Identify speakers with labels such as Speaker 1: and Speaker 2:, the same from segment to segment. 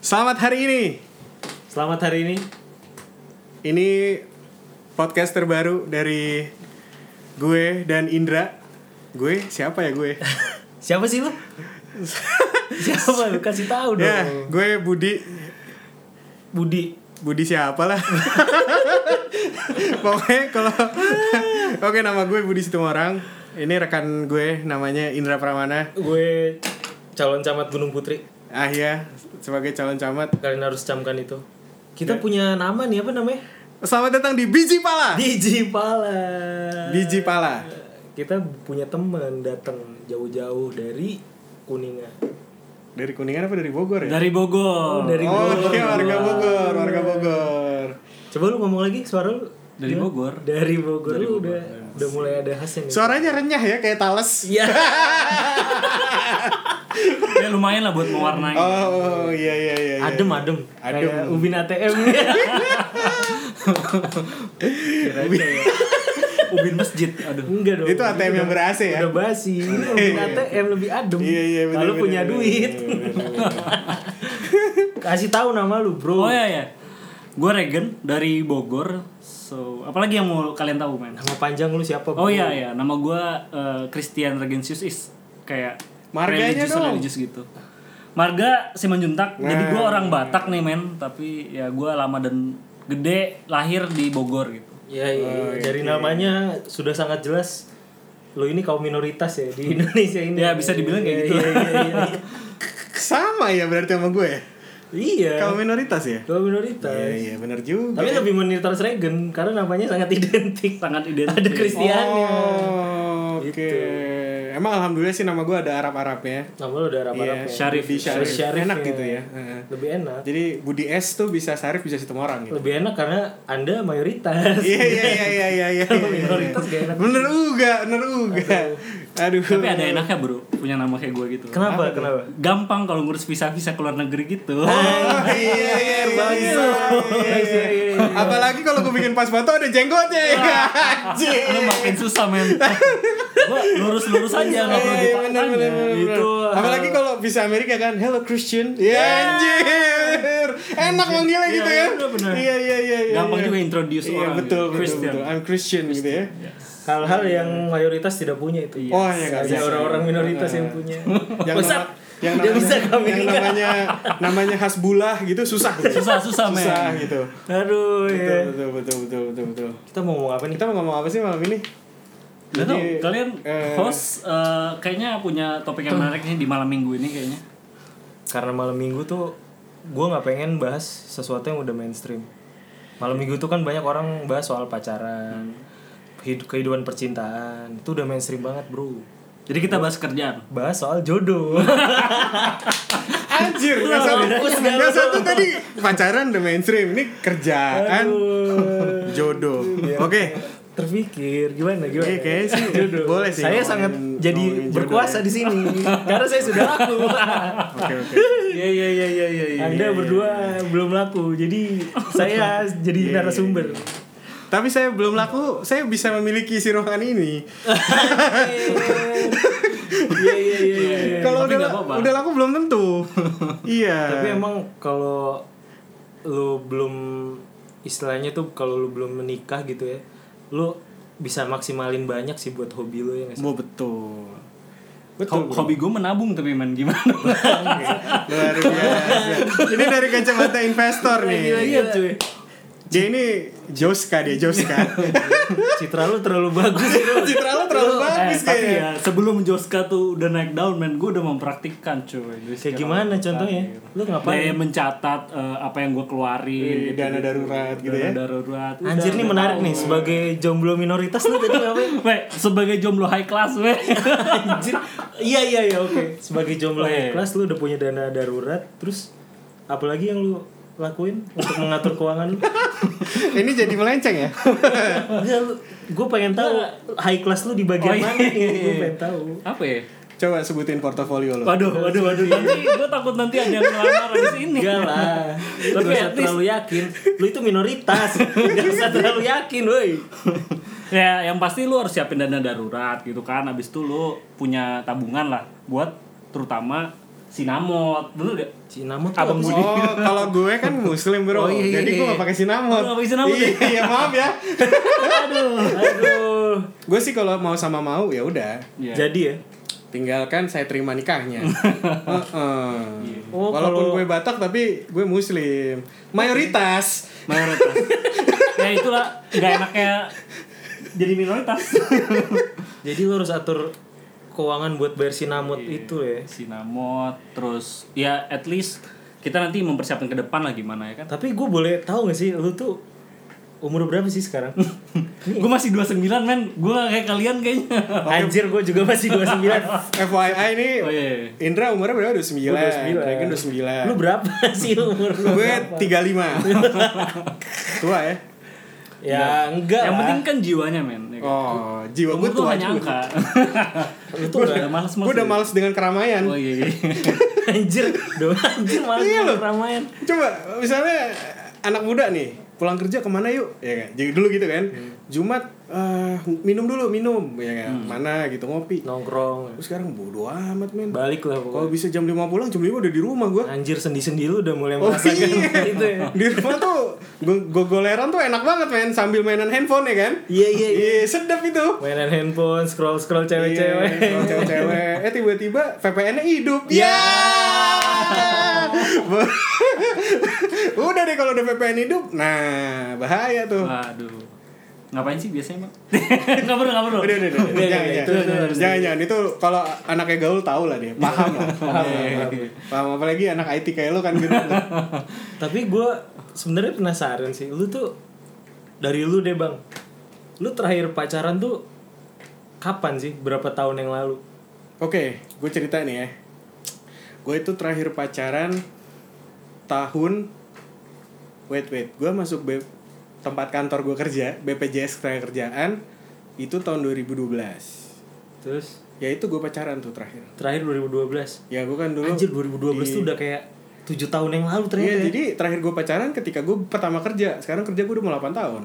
Speaker 1: Selamat hari ini.
Speaker 2: Selamat hari ini.
Speaker 1: Ini podcast terbaru dari gue dan Indra. Gue siapa ya gue?
Speaker 2: Siapa sih lu? Siapa lu kasih tahu dong.
Speaker 1: ya, gue Budi.
Speaker 2: Budi.
Speaker 1: Budi siapa lah? Pokoknya kalau Oke, nama gue Budi Situmorang. Ini rekan gue namanya Indra Pramana.
Speaker 2: Gue calon camat Gunung Putri.
Speaker 1: Ah ya, sebagai calon camat.
Speaker 2: Kalian harus camkan itu. Kita punya nama nih apa namanya?
Speaker 1: Selamat datang di Biji
Speaker 2: Ah. Iya.
Speaker 1: Pala.
Speaker 2: Digipala.
Speaker 1: Biji Pala.
Speaker 2: Kita punya temen datang jauh-jauh dari Kuningan.
Speaker 1: Dari Kuningan apa dari Bogor ya?
Speaker 3: Dari
Speaker 2: Oh,
Speaker 3: Bogor.
Speaker 2: dari
Speaker 1: Oh,
Speaker 2: Bogor.
Speaker 1: iya, warga Bogor, warga Bogor.
Speaker 2: Coba lu ngomong lagi suara lu. Iya.
Speaker 3: Dari Bogor.
Speaker 2: Dari Bogor lu udah udah mulai ada khasnya nih.
Speaker 1: Suaranya renyah ya kayak tales.
Speaker 2: Iya.
Speaker 3: ya lumayan lah buat mewarnai.
Speaker 1: Oh iya iya iya. iya.
Speaker 2: adem adem.
Speaker 1: Adem.
Speaker 2: Kayak Ubin ATM.
Speaker 3: Kira-kira ya. Ubin masjid. Aduh.
Speaker 2: Enggak dong.
Speaker 1: Itu ATM yang ber AC ya?
Speaker 2: Udah basi. Ini Ubin ATM lebih adem.
Speaker 1: Iya iya. bener,
Speaker 2: Kalau
Speaker 1: bener,
Speaker 2: punya
Speaker 1: bener,
Speaker 2: duit.
Speaker 1: bener, bener, bener.
Speaker 2: Kasih tahu nama lu, Bro.
Speaker 3: Oh ya ya. Gue Regen dari Bogor. So, apalagi yang mau kalian tahu men?
Speaker 2: Nama panjang lu siapa,
Speaker 3: Oh iya ya, nama gue Christian Regensius is kayak
Speaker 1: Marganya
Speaker 3: religious,
Speaker 1: dong.
Speaker 3: religious gitu. Marga Simanjuntak. Jadi gue orang Batak nih men, tapi ya gue lama dan gede lahir di Bogor gitu.
Speaker 2: Ya, iya.
Speaker 1: Oh,
Speaker 2: Dari namanya sudah sangat jelas lu ini kaum minoritas ya di Indonesia ini.
Speaker 3: Ya, bisa dibilang
Speaker 2: Iya,
Speaker 3: kayak gitu.
Speaker 2: Iya, iya, iya.
Speaker 1: Sama ya berarti sama gue. ya?
Speaker 2: Iya.
Speaker 1: Kalau minoritas ya.
Speaker 2: Kaum minoritas.
Speaker 1: Iya iya benar juga.
Speaker 2: Tapi lebih minoritas Regen karena namanya sangat identik.
Speaker 3: Sangat identik.
Speaker 2: Ada Kristiannya.
Speaker 1: Oh, Oke.
Speaker 2: Gitu.
Speaker 1: Emang alhamdulillah sih nama gue ada Arab Arabnya.
Speaker 2: Nama lu udah Arab-Arab
Speaker 1: Iya,
Speaker 2: ya.
Speaker 3: Syarif.
Speaker 1: Budi Syarif.
Speaker 2: Syarif, Syarif,
Speaker 1: Enak
Speaker 2: ya.
Speaker 1: gitu ya. Heeh.
Speaker 2: Lebih enak.
Speaker 1: Jadi Budi S tuh bisa Syarif bisa situ orang gitu.
Speaker 2: Lebih enak karena Anda mayoritas.
Speaker 1: Iya iya iya iya iya iya.
Speaker 2: Kalau minoritas gak enak.
Speaker 1: Bener uga, bener uga. Aduh.
Speaker 3: Tapi ada enaknya bro, punya nama kayak gue gitu.
Speaker 2: Kenapa? Kenapa?
Speaker 3: Gampang kalau ngurus visa-visa ke luar negeri gitu.
Speaker 1: Oh, iya, iya, iya, iya, iya, iya, iya. Apalagi kalau gue bikin pas batu ada jenggotnya ya. Anjing.
Speaker 3: Lu makin susah men Gua lurus-lurus aja nggak
Speaker 1: Iya, iya,
Speaker 3: perlu
Speaker 1: bener,
Speaker 3: dipaksain
Speaker 1: bener, bener, bener.
Speaker 3: Itu
Speaker 1: Apalagi kalau bisa Amerika kan, hello Christian. Ya anjir. Enak manggilnya
Speaker 3: Iya,
Speaker 1: gitu ya.
Speaker 3: iya, bener.
Speaker 1: Iya iya iya iya.
Speaker 3: Gampang
Speaker 1: iya.
Speaker 3: juga introduce
Speaker 1: Iya,
Speaker 3: orang
Speaker 1: betul,
Speaker 3: gitu.
Speaker 1: betul,
Speaker 3: Christian. Iya.
Speaker 1: betul. I'm Christian gitu ya.
Speaker 2: Hal-hal yang mayoritas tidak punya itu.
Speaker 1: Oh, iya, nggak
Speaker 2: Ada
Speaker 1: bisa. Iya.
Speaker 2: orang-orang minoritas yang punya.
Speaker 1: Yang
Speaker 2: What's
Speaker 1: nama-
Speaker 2: up?
Speaker 1: yang
Speaker 2: Tidak
Speaker 1: namanya,
Speaker 2: bisa kami
Speaker 1: yang namanya namanya Hasbullah gitu susah gitu.
Speaker 3: Susah, susah, men.
Speaker 1: susah gitu
Speaker 2: Aduh,
Speaker 1: betul
Speaker 2: ya.
Speaker 1: betul betul betul betul betul
Speaker 2: Kita mau ngomong apa nih?
Speaker 1: kita mau ngomong apa sih malam ini
Speaker 3: Gak tau, kalian
Speaker 1: eh,
Speaker 3: host eh, kayaknya punya topik yang menarik nih di malam minggu ini kayaknya
Speaker 2: Karena malam minggu tuh gue nggak pengen bahas sesuatu yang udah mainstream. Malam minggu tuh kan banyak orang bahas soal
Speaker 1: Hmm.
Speaker 2: pacaran, hid- kehidupan percintaan. Itu udah mainstream banget, bro.
Speaker 3: Jadi kita bahas kerjaan
Speaker 2: Bahas soal jodoh.
Speaker 1: Anjir, yang satu,
Speaker 2: Fokus gak
Speaker 1: yang satu tadi pacaran the mainstream, ini kerjaan jodoh.
Speaker 2: Iya.
Speaker 1: Oke,
Speaker 2: terpikir gimana gimana
Speaker 1: Iya, kayaknya sih
Speaker 2: Jodoh.
Speaker 1: boleh sih
Speaker 2: saya
Speaker 1: ngomongin-
Speaker 2: sangat
Speaker 1: ngomongin
Speaker 2: jadi
Speaker 1: jodoh ya.
Speaker 2: berkuasa di sini karena saya sudah laku
Speaker 1: oke, oke.
Speaker 3: Iya iya iya iya iya
Speaker 2: anda berdua belum laku jadi saya jadi
Speaker 3: Iya,
Speaker 2: narasumber
Speaker 1: Tapi saya belum laku, saya bisa memiliki si ruangan ini.
Speaker 2: iya iya iya iya iya.
Speaker 1: Kalau
Speaker 3: tapi
Speaker 1: udah
Speaker 3: nggak apa-apa.
Speaker 1: udah laku belum tentu. iya.
Speaker 2: tapi emang kalau lu belum istilahnya tuh kalau lu belum menikah gitu ya lu bisa maksimalin banyak sih buat hobi lu ya nggak sih?
Speaker 1: mau betul.
Speaker 3: Ho- Hobi gue menabung tapi men gimana
Speaker 1: Luar biasa. ini dari kacamata investor nih.
Speaker 2: Iya cuy
Speaker 1: Dia ini Joska dia Joska.
Speaker 3: Iya.
Speaker 2: Citra lu terlalu bagus bro.
Speaker 1: Citra lo terlalu bagus
Speaker 3: Eh, tapi
Speaker 1: kayaknya.
Speaker 3: ya sebelum Joska tuh udah naik down men Gue udah mempraktikkan cuy
Speaker 2: Kayak gimana contohnya?
Speaker 3: Iya,
Speaker 2: Lu ngapain?
Speaker 3: Kayak mencatat eh, apa yang gue keluarin
Speaker 1: Di Iya, dana darurat gitu
Speaker 3: ya. Dana
Speaker 1: ya.
Speaker 3: darurat Udah,
Speaker 2: Anjir nih
Speaker 3: iya. udah
Speaker 2: menarik
Speaker 3: tahu.
Speaker 2: nih sebagai jomblo minoritas lu tadi ngapain?
Speaker 3: Weh, sebagai jomblo high class weh.
Speaker 2: Anjir. Iya iya iya oke. Sebagai jomblo
Speaker 3: Oke.
Speaker 2: kelas lu udah punya dana darurat, terus apalagi yang lu lakuin untuk mengatur keuangan lu?
Speaker 1: Ini jadi melenceng ya.
Speaker 2: Enggak lu, gue pengen tahu high class lu di bagian
Speaker 3: Oh, iya,
Speaker 2: mana?
Speaker 3: iya, iya.
Speaker 2: Gue pengen tahu.
Speaker 3: Apa ya?
Speaker 1: Coba sebutin portofolio lo.
Speaker 3: Waduh, waduh, waduh. Nanti gue takut nanti ada yang ngelamar di sini.
Speaker 2: Enggak lah, lu usah
Speaker 3: Tapi at least-
Speaker 2: terlalu yakin. Lu itu minoritas, gak usah terlalu yakin, woi.
Speaker 3: Ya, yang pasti lu harus siapin dana darurat gitu kan. Habis itu lu punya tabungan lah buat terutama sinamot bener gak
Speaker 2: Sinamot tuh
Speaker 3: Abang
Speaker 2: apa sih?
Speaker 3: Budi.
Speaker 1: Oh, kalau gue kan muslim bro,
Speaker 2: Oh, iya, iya,
Speaker 1: jadi gue
Speaker 2: iya.
Speaker 1: gak pakai sinamot.
Speaker 3: Lu nggak pakai sinamot ya?
Speaker 1: Iya maaf ya.
Speaker 3: aduh aduh
Speaker 1: Gue sih kalau mau sama mau ya udah,
Speaker 3: Iya.
Speaker 2: Jadi ya.
Speaker 1: tinggalkan saya terima nikahnya. Heeh.
Speaker 2: Oh,
Speaker 1: Walaupun
Speaker 2: kalau-
Speaker 1: gue Batak tapi gue muslim, mayoritas.
Speaker 3: mayoritas ya itulah gak enaknya jadi minoritas
Speaker 2: Jadi lu harus atur keuangan buat bayar sinamot itu ya.
Speaker 3: sinamot terus ya at least kita nanti mempersiapkan ke depan lah gimana ya kan
Speaker 2: Tapi gue boleh tahu gak sih lu tuh umur berapa sih sekarang?
Speaker 3: gue masih 29 men gue kayak kalian kayaknya
Speaker 2: Anjir gue juga masih 29
Speaker 1: FYI nih,
Speaker 3: oh iya, iya.
Speaker 1: Indra umurnya berapa? 29.
Speaker 2: Gua 29.
Speaker 1: Dragon 29.
Speaker 2: Lu berapa sih umur lu?
Speaker 1: gue 35. Tua ya.
Speaker 2: Ya enggak
Speaker 3: yang
Speaker 2: lah.
Speaker 3: penting kan jiwanya men ya kan?
Speaker 1: Oh, jiwa gue
Speaker 3: Umur tuh
Speaker 1: tua
Speaker 3: hanya
Speaker 1: juga.
Speaker 3: angka itu udah males
Speaker 1: Gue udah males dengan keramaian.
Speaker 3: oh iya, iya.
Speaker 2: Anjir Duh, Anjir malah
Speaker 1: Iya loh.
Speaker 2: ramaian
Speaker 1: Coba misalnya anak muda nih pulang kerja kemana yuk ya kan jadi dulu gitu kan
Speaker 2: Hmm.
Speaker 1: Jumat eh, minum dulu minum ya kan mana gitu ngopi
Speaker 2: Nongkrong
Speaker 1: Terus sekarang bodoh amat men
Speaker 2: Balik lah
Speaker 1: kalau
Speaker 2: pokoknya
Speaker 1: bisa jam 5 pulang jam 5 udah di rumah gua
Speaker 2: Anjir sendi-sendi lu udah mulai
Speaker 1: Oh
Speaker 2: merasakan
Speaker 1: iya,
Speaker 2: Nah, gitu ya
Speaker 1: di rumah tuh go- gogoleran tuh enak banget men sambil mainan handphone ya kan?
Speaker 2: Iya iya iya.
Speaker 1: Iya sedap itu.
Speaker 2: Mainan handphone, scroll-scroll
Speaker 1: Iya,
Speaker 2: cewek-cewek
Speaker 1: kalau cewek-cewek. Eh tiba-tiba VPN-nya hidup. Ya. udah deh kalau udah VPN hidup, nah bahaya tuh.
Speaker 3: waduh ngapain sih biasanya mak nggak perlu nggak perlu
Speaker 1: Udah, udah, udah. Jangan,
Speaker 2: Udah, udah,
Speaker 1: jangan.
Speaker 2: itu, itu harus
Speaker 1: Jangan, jangan. Itu kalau anaknya gaul tau lah dia. Paham lah. Iya,
Speaker 2: paham.
Speaker 1: Paham. Apalagi anak IT kayak lo kan gitu.
Speaker 2: Tapi gue sebenarnya penasaran sih Lu tuh Dari lu deh bang Lu terakhir pacaran tuh Kapan sih? Berapa tahun yang lalu?
Speaker 1: Oke, gue cerita nih ya. Gue itu terakhir pacaran tahun wait wait, gue masuk B- tempat kantor gue kerja BPJS ketenaga kerjaan itu tahun 2012.
Speaker 2: Terus
Speaker 1: Ya itu gue pacaran tuh terakhir.
Speaker 2: Terakhir 2012
Speaker 1: Ya gue kan dulu.
Speaker 2: Anjir 2012 tuh udah kayak 7 tahun yang lalu ternyata
Speaker 1: Iya,
Speaker 2: ya.
Speaker 1: jadi terakhir gue pacaran ketika gue pertama kerja. Sekarang kerja gue udah mau 8 tahun,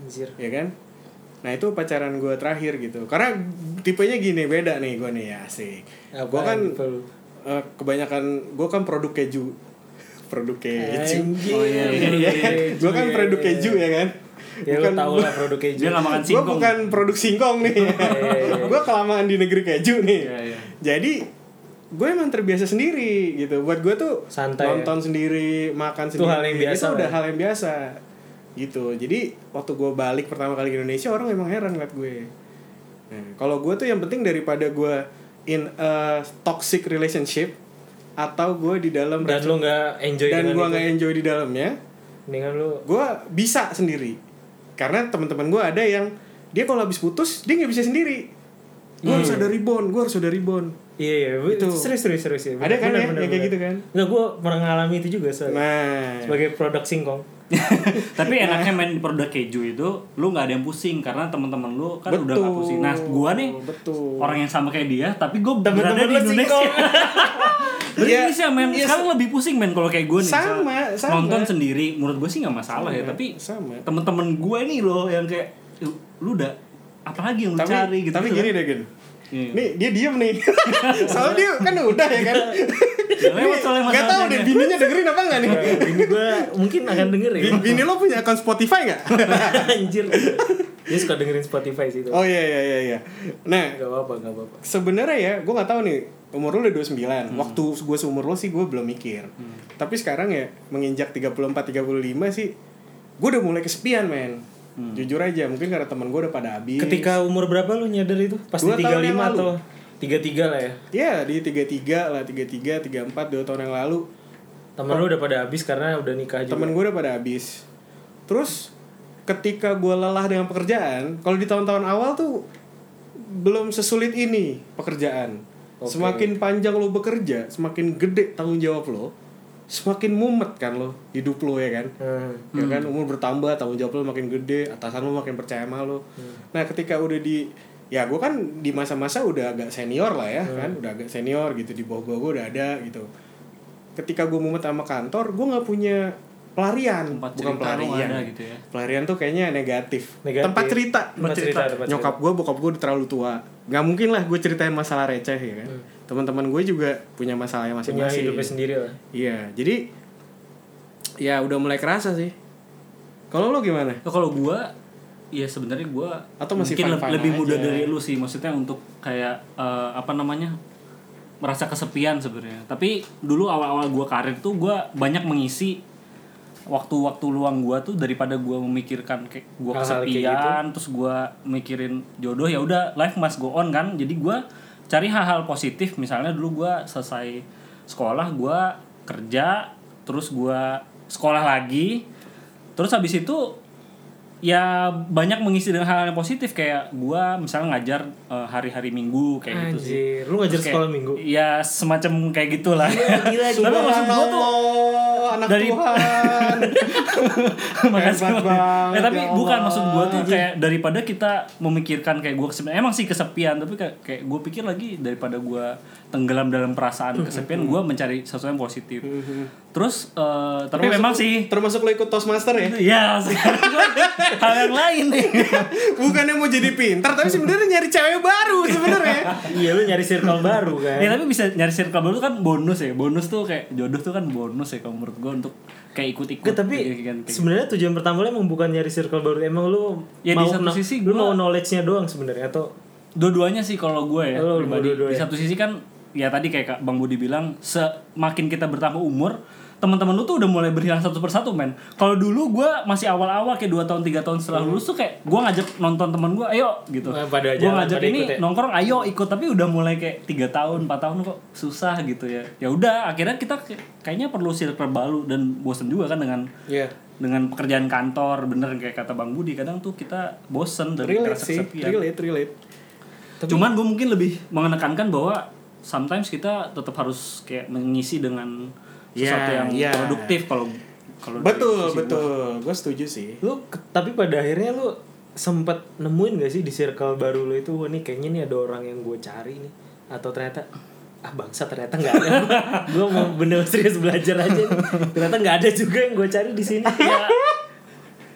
Speaker 2: Anjir
Speaker 1: ya kan? Nah itu pacaran gue terakhir gitu. Karena tipenya gini beda nih gue nih ya asik. Gue kan
Speaker 2: tipe lu?
Speaker 1: Eh, kebanyakan gue kan produk keju produk keju
Speaker 2: Anjir
Speaker 3: Oh, iya, iya, iya,
Speaker 1: gue kan produk keju ya kan
Speaker 2: Ya lu
Speaker 1: bukan
Speaker 2: tau lah produk keju
Speaker 3: dia nggak makan
Speaker 1: gue
Speaker 3: singkong
Speaker 1: bukan produk singkong nih gue kelamaan di negeri keju nih
Speaker 3: Iya, iya.
Speaker 1: jadi gue emang terbiasa sendiri gitu buat gue tuh
Speaker 2: Santai ya?
Speaker 1: nonton sendiri makan
Speaker 2: Itu
Speaker 1: sendiri
Speaker 2: hal yang biasa
Speaker 1: itu udah
Speaker 2: lah.
Speaker 1: hal yang biasa gitu jadi waktu gue balik pertama kali ke Indonesia orang emang heran ngeliat gue nah, kalau gue tuh yang penting daripada gue in a toxic relationship atau gue di dalam
Speaker 2: Dan lu gak enjoy
Speaker 1: dan
Speaker 2: dengan
Speaker 1: gue
Speaker 2: itu
Speaker 1: nggak enjoy di dalamnya
Speaker 2: Dengan lu
Speaker 1: gue bisa sendiri karena teman-teman gue ada yang dia kalau habis putus dia nggak bisa sendiri gue harus
Speaker 3: Hmm.
Speaker 1: ada rebound gue harus ada rebound
Speaker 2: Iya iya
Speaker 1: Itu.
Speaker 2: itu serius serius serius ya.
Speaker 1: Ada kan ya, yang kayak gitu kan?
Speaker 2: Enggak gue pernah ngalami itu juga soalnya.
Speaker 1: nah
Speaker 2: Sebagai produk singkong.
Speaker 3: tapi enaknya main produk keju itu lu nggak ada yang pusing karena teman-teman lu kan udah nggak pusing nah gua nih
Speaker 1: betul
Speaker 3: orang yang sama kayak dia tapi gue berada
Speaker 1: Temen-temen lu
Speaker 3: di Indonesia
Speaker 1: singkong.
Speaker 3: Di
Speaker 1: Iya,
Speaker 3: Indonesia men
Speaker 1: iya,
Speaker 3: sekarang lebih pusing men kalau kayak gue nih
Speaker 1: Sama,
Speaker 3: misalnya
Speaker 1: sama.
Speaker 3: nonton sendiri menurut gue sih nggak masalah ya tapi
Speaker 1: sama
Speaker 3: temen-temen gue nih loh yang kayak "Lu- lu udah apa lagi yang lu
Speaker 1: tapi
Speaker 3: cari gitu
Speaker 1: tapi
Speaker 3: kan.
Speaker 1: gini deh Gen
Speaker 3: Iya.
Speaker 1: nih dia diem nih soalnya dia kan udah ya kan
Speaker 3: Ya, lewat soalnya
Speaker 1: nggak tahu
Speaker 3: masalahnya. kan.
Speaker 1: deh bininya dengerin apa nggak nih
Speaker 2: Ini gue mungkin akan denger ya.
Speaker 1: Bin- bini lo punya akun Spotify nggak
Speaker 2: Anjir. Dia suka dengerin Spotify sih itu.
Speaker 1: oh iya iya iya iya nah
Speaker 2: Gak apa-apa, gak apa-apa.
Speaker 1: sebenarnya ya gue nggak tahu nih umur lu udah 29 waktu gue seumur lo sih gue belum mikir tapi sekarang ya menginjak 34 35 sih gue udah mulai kesepian men jujur aja mungkin karena teman gue udah pada habis
Speaker 2: Ketika umur berapa lu nyadar itu? Pasti
Speaker 1: Dua
Speaker 2: 35
Speaker 1: tahun yang lalu.
Speaker 2: atau 33 lah ya.
Speaker 1: ya di 33 lah 33 34 2 tahun yang lalu Oh.
Speaker 2: Temen lu udah pada habis karena udah nikah juga.
Speaker 1: teman gue udah pada habis terus ketika gue lelah dengan pekerjaan kalau di tahun-tahun awal tuh belum sesulit ini pekerjaan
Speaker 2: Oke.
Speaker 1: semakin panjang lo bekerja semakin gede tanggung jawab lo semakin mumet kan lo hidup lo ya kan
Speaker 2: Hmm.
Speaker 1: ya kan umur bertambah tanggung jawab lo makin gede atasan lo makin percaya sama lo
Speaker 2: Hmm.
Speaker 1: nah ketika udah di ya gue kan di masa-masa udah agak senior lah
Speaker 2: Hmm.
Speaker 1: ya kan udah agak senior gitu di bawah gue udah ada gitu ketika gue mumet sama kantor gue nggak punya pelarian
Speaker 3: tempat
Speaker 1: bukan
Speaker 3: cerita lu nggak
Speaker 1: pelarian
Speaker 3: ada gitu ya
Speaker 1: pelarian tuh kaynya negatif,
Speaker 2: Negatif.
Speaker 1: tempat cerita
Speaker 2: Tempat cerita, tempat cerita. Hmm.
Speaker 1: nyokap gue bokap gue terlalu tua nggak mungkin lah gue ceritain masalah receh ya kan teman-teman gue juga punya masalahnya
Speaker 2: punya
Speaker 1: masing-masing
Speaker 2: hidupnya sendiri lah
Speaker 1: iya jadi ya udah mulai kerasa sih kalau lo gimana
Speaker 3: Ya, kalau gua ya sebenarnya gua
Speaker 1: Atau masih
Speaker 3: mungkin
Speaker 1: fine-fine
Speaker 3: lebih muda
Speaker 1: aja.
Speaker 3: dari lu sih maksudnya untuk kayak eh, apa namanya merasa kesepian sebenarnya tapi dulu awal-awal gua karir tuh gua banyak mengisi waktu-waktu luang gua tuh daripada gua memikirkan kayak gua
Speaker 2: Hal-hal kayak
Speaker 1: gitu ya.
Speaker 3: kesepian terus gua mikirin jodoh ya udah life must go on kan jadi gua cari hal-hal positif misalnya dulu gua selesai sekolah gua kerja terus gua sekolah lagi terus habis itu ya banyak mengisi dengan hal-hal yang positif kayak gua misalnya ngajar eh, hari-hari minggu kayak gitu sih
Speaker 2: anjir lu ngajar
Speaker 3: Terus kayak-
Speaker 2: sekolah minggu
Speaker 3: ya semacam kayak gitulah tapi maksud gua tuh
Speaker 1: Subhanallah, anak
Speaker 3: dari-
Speaker 1: Tuhan
Speaker 3: Makasih.
Speaker 1: Hebat banget,
Speaker 3: Eh, tapi
Speaker 1: ya
Speaker 3: bukan
Speaker 1: Allah.
Speaker 3: maksud gua tuh kayak daripada kita memikirkan kayak gua kesepian emang sih kesepian tapi kayak, kayak gua pikir lagi daripada gua tenggelam dalam
Speaker 1: Hmm,
Speaker 3: perasaan kesepian gua mencari sesuatu yang positif. Terus eh, tapi
Speaker 1: Termasuk-
Speaker 3: memang sih
Speaker 1: termasuk lo ikut Toastmaster ya
Speaker 3: ya sekarang gua hal yang lain nih.
Speaker 1: bukannya mau jadi pintar tapi sebenarnya nyari cewek baru sebenarnya
Speaker 2: iya lu nyari circle baru kan
Speaker 3: Ya tapi bisa nyari circle baru tuh kan bonus ya. Bonus tuh kayak jodoh tuh kan bonus ya kalau menurut gua untuk kayak ikut-ikut.
Speaker 2: Nggak, tapi
Speaker 3: kayak- kayak-
Speaker 2: sebenarnya tujuan pertama lu emang bukan nyari circle baru emang lu
Speaker 3: Ya, di
Speaker 2: mau
Speaker 3: satu
Speaker 2: kno-
Speaker 3: sisi
Speaker 2: lu mau
Speaker 3: gua-
Speaker 2: knowledge-nya doang sebenarnya atau
Speaker 3: dua-duanya sih kalau gue ya
Speaker 2: Oh, lu
Speaker 3: pribadi.
Speaker 2: dua-duanya.
Speaker 3: di satu sisi kan ya tadi kayak Kak Bang Budi bilang semakin kita bertambah umur teman-teman lu tuh udah mulai berhilang satu persatu men kalau dulu gue masih awal-awal kayak dua tahun tiga tahun setelah lulus tuh kayak gue ngajak nonton teman gue ayo gitu
Speaker 2: Nah, Hmm. pada
Speaker 3: gue
Speaker 2: jalan,
Speaker 3: ngajak
Speaker 2: pada
Speaker 3: ini
Speaker 2: ikut ya.
Speaker 3: nongkrong ayo ikut tapi udah mulai kayak tiga tahun empat tahun kok susah gitu ya ya udah akhirnya kita kayak- kayaknya perlu circle baru dan bosen juga kan dengan
Speaker 1: Iya.
Speaker 3: dengan pekerjaan kantor bener kayak kata Bang Budi kadang tuh kita bosen dan
Speaker 1: relate
Speaker 3: ngerasa
Speaker 1: sih
Speaker 3: kesepian.
Speaker 1: relate relate
Speaker 3: Cuman gue mungkin lebih menekankan bahwa sometimes kita tetap harus kayak mengisi dengan sesuatu
Speaker 1: Ya,
Speaker 3: yang
Speaker 1: ya.
Speaker 3: produktif kalau kalau dari
Speaker 1: betul
Speaker 3: sisi
Speaker 1: betul gue setuju sih
Speaker 2: lu ke- tapi pada akhirnya lu sempet nemuin gak sih di circle baru lu itu wah nih kayaknya nih ada orang yang gue cari nih atau ternyata ah bangsa ternyata nggak ada gue mau bener serius belajar aja nih. ternyata nggak ada juga yang gue cari di sini
Speaker 3: gua. Ya,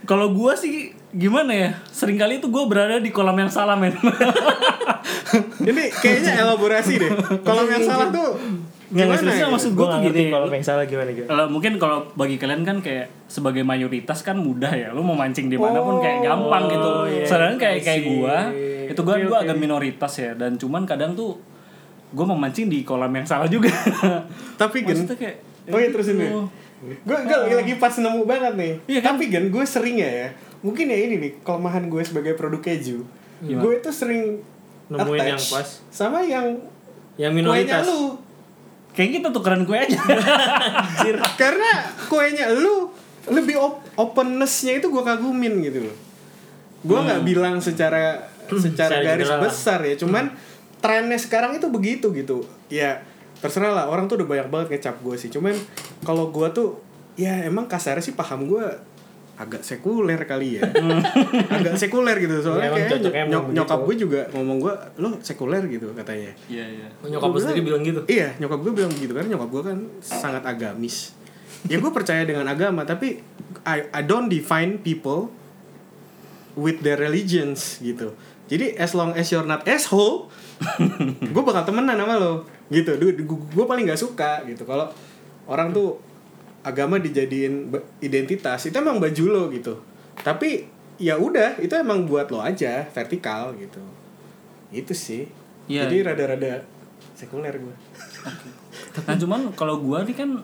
Speaker 3: kalau gue sih gimana ya? Seringkali itu gue berada di kolam yang salah men.
Speaker 1: ini kayaknya elaborasi deh kalau yang salah tuh
Speaker 2: Nggak, nggak,
Speaker 1: gimana
Speaker 2: serius,
Speaker 1: ya?
Speaker 3: maksud
Speaker 2: Iya, gua
Speaker 3: gua tuh
Speaker 2: nggak ngerti
Speaker 3: gini.
Speaker 2: kalau pengen salah gimana gitu
Speaker 3: Kalau mungkin kalau bagi kalian kan kayak sebagai mayoritas kan mudah ya. Lu mau mancing di mana pun kayak gampang gitu.
Speaker 2: iya,
Speaker 3: Sedangkan kayak
Speaker 2: I
Speaker 3: kayak
Speaker 2: see.
Speaker 3: gua, itu gua
Speaker 2: Oke,
Speaker 3: gua
Speaker 2: oke.
Speaker 3: agak minoritas ya dan cuman kadang tuh gua mau mancing di kolam yang salah juga.
Speaker 1: tapi gen
Speaker 3: Maksudnya kayak
Speaker 1: oh iya terus ini
Speaker 3: gitu.
Speaker 1: gue lagi pas nemu banget nih
Speaker 3: Iya kan?
Speaker 1: tapi gen gue sering ya ya mungkin ya ini nih kelemahan gue sebagai produk keju gue itu sering
Speaker 2: Nemuin
Speaker 1: attach
Speaker 2: yang pas.
Speaker 1: sama yang
Speaker 2: yang
Speaker 1: kuenya
Speaker 2: Ya, minoritas
Speaker 1: lu
Speaker 3: Kayak kita tukeran kue aja.
Speaker 2: Anjir.
Speaker 1: karena kuenya lu lebih op- openness-nya itu gua kagumin gitu loh. Gua nggak bilang secara secara
Speaker 2: Hmm. Secara
Speaker 1: garis
Speaker 2: general lah. Hmm.
Speaker 1: besar ya, cuman trennya sekarang itu begitu gitu. Ya terserah lah orang tuh udah banyak banget ngecap gue sih. Cuman kalau gua tuh ya emang kasarnya sih paham gua agak sekuler kali ya agak sekuler gitu soalnya
Speaker 2: Hmm. Emang
Speaker 1: kayaknya
Speaker 2: cocoknya emang
Speaker 1: nyok- nyokap
Speaker 2: begitu.
Speaker 1: gue juga ngomong gua lo sekuler gitu katanya
Speaker 3: Iya iya.
Speaker 2: nyokap lu sendiri bilang gitu
Speaker 1: Iya, nyokap gue bilang begitu karena nyokap gue kan sangat agamis. Ya gue percaya dengan agama, tapi I, I don't define people with their religions gitu. Jadi as long as you're not asshole, gue bakal temenan sama lo gitu. Gue paling gak suka gitu kalau orang tuh agama dijadiin be- identitas itu emang baju lo gitu. Tapi ya udah itu emang buat lo aja vertikal gitu. Itu sih.
Speaker 3: Iya.
Speaker 1: Jadi rada-rada sekuler gue.
Speaker 3: Nah cuman kalau gua nih kan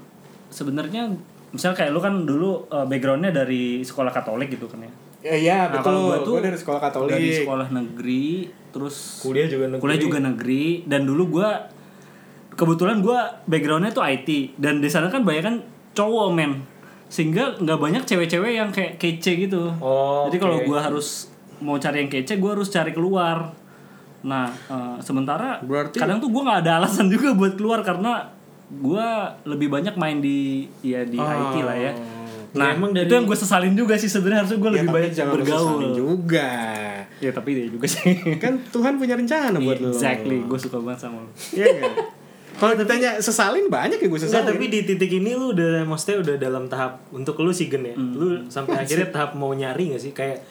Speaker 3: sebenarnya misal kayak lu kan dulu eh, backgroundnya dari sekolah Katolik gitu kan ya.
Speaker 1: Ya, iya,
Speaker 3: Nah,
Speaker 1: betul.
Speaker 3: kalau
Speaker 1: Gue
Speaker 3: gua tuh
Speaker 1: dari sekolah Katolik.
Speaker 3: Dari sekolah negeri, terus
Speaker 2: Kuliah juga negeri.
Speaker 3: Kuliah
Speaker 1: Ya,
Speaker 3: juga negeri dan dulu gua kebetulan gua backgroundnya tuh IT dan di sana kan banyak kan cowok men. Sehingga nggak banyak cewek-cewek yang kayak kece gitu.
Speaker 2: Oh,
Speaker 3: Jadi kalau
Speaker 2: oke.
Speaker 3: gua harus mau cari yang kece, gua harus cari keluar. Nah, eh, sementara
Speaker 1: Berarti-
Speaker 3: kadang tuh gua nggak ada alasan juga buat keluar karena gua lebih banyak main di ya di IT lah ya.
Speaker 2: Ya,
Speaker 3: Nah,
Speaker 2: emang dari-
Speaker 3: itu yang gue sesalin juga sih sebenarnya harusnya gue
Speaker 1: Ya,
Speaker 3: lebih
Speaker 1: tapi
Speaker 3: banyak
Speaker 1: jangan lu
Speaker 3: bergaul.
Speaker 1: sesalin juga.
Speaker 3: Ya tapi dia juga sih.
Speaker 1: Kan Tuhan punya rencana buat lo.
Speaker 3: exactly, gue suka banget sama lu.
Speaker 1: Iya nggak? Kalau ditanya sesalin banyak ya gue
Speaker 2: Enggak,
Speaker 1: sesalin.
Speaker 2: tapi di titik ini lu udah maksudnya udah dalam tahap untuk lu sih gen ya. Lu sampai akhirnya tahap mau nyari gak sih kayak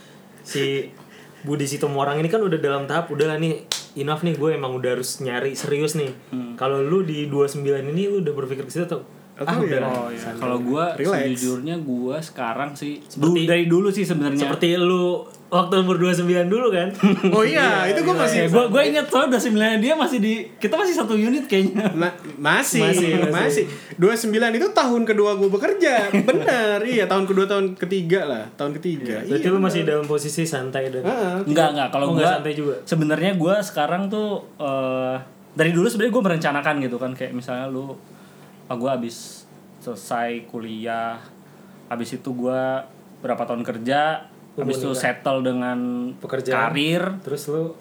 Speaker 2: si Budi Sitomorang ini kan udah dalam tahap udah lah nih enough nih gue emang udah harus nyari serius nih. Kalau lu di 29 ini lu udah berpikir ke situ atau
Speaker 1: Atau
Speaker 2: ah,
Speaker 1: ya?
Speaker 2: udah lah.
Speaker 3: Oh iya. Kalau gua
Speaker 1: Relax.
Speaker 3: sejujurnya gua sekarang sih
Speaker 2: Seperti-
Speaker 3: du- dari dulu sih sebenarnya.
Speaker 2: Seperti lu waktu umur 29 dulu kan.
Speaker 1: oh iya itu gue masih
Speaker 3: Gue gue inget soalnya udah sembilan dia masih di kita masih satu unit kayaknya.
Speaker 1: Ma- masih,
Speaker 2: Masih,
Speaker 1: masih,
Speaker 2: masih.
Speaker 1: 29 itu tahun kedua gue bekerja. Benar. iya, tahun kedua, tahun ketiga lah. Tahun ketiga.
Speaker 2: Berarti
Speaker 1: Iya. Ah.
Speaker 2: lu masih dalam posisi santai dan
Speaker 1: Heeh.
Speaker 3: Enggak enggak
Speaker 2: Oh,
Speaker 3: kalau
Speaker 2: nggak
Speaker 3: gua
Speaker 2: santai juga?
Speaker 3: Sebenarnya gua sekarang tuh eh, dari dulu sebenarnya gua merencanakan gitu kan kayak misalnya lu ah, gua habis selesai kuliah habis itu gua berapa tahun kerja
Speaker 2: Lu
Speaker 3: habis itu
Speaker 2: menikah.
Speaker 3: settle dengan
Speaker 2: Pekerjaan.
Speaker 3: karir
Speaker 2: terus lu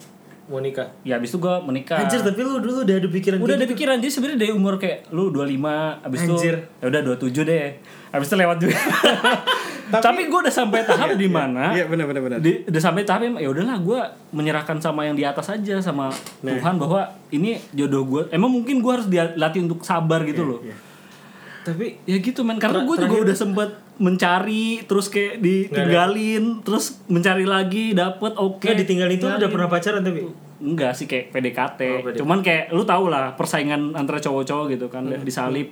Speaker 2: mau nikah.
Speaker 3: ya habis itu gua menikah
Speaker 2: Anjir, tapi lu dulu udah ada pikiran
Speaker 3: udah
Speaker 2: gitu.
Speaker 3: ada pikiran jadi sebenarnya dari umur kayak lu 25 abis itu
Speaker 2: Anjir.
Speaker 3: ya udah 27 deh abis itu lewat juga tapi, gue udah sampai tahap di mana
Speaker 1: Iya, benar benar benar.
Speaker 3: di- udah sampai tahap yang, ya udahlah gue menyerahkan sama yang di atas aja sama
Speaker 1: Nah.
Speaker 3: Tuhan bahwa ini jodoh gue emang mungkin gue harus dilatih untuk sabar gitu
Speaker 1: Iya,
Speaker 3: loh
Speaker 2: Tapi
Speaker 3: ya gitu men karena gue juga udah sempet mencari terus kayak ditinggalin terus mencari lagi dapet oke
Speaker 2: Nggak, ditinggalin itu lu udah pernah pacaran tapi
Speaker 3: Enggak sih kayak PDKT.
Speaker 2: Oh, PDKT.
Speaker 3: Cuman kayak lu tau lah persaingan antara cowok-cowok gitu kan
Speaker 2: Hmm.
Speaker 3: disalip.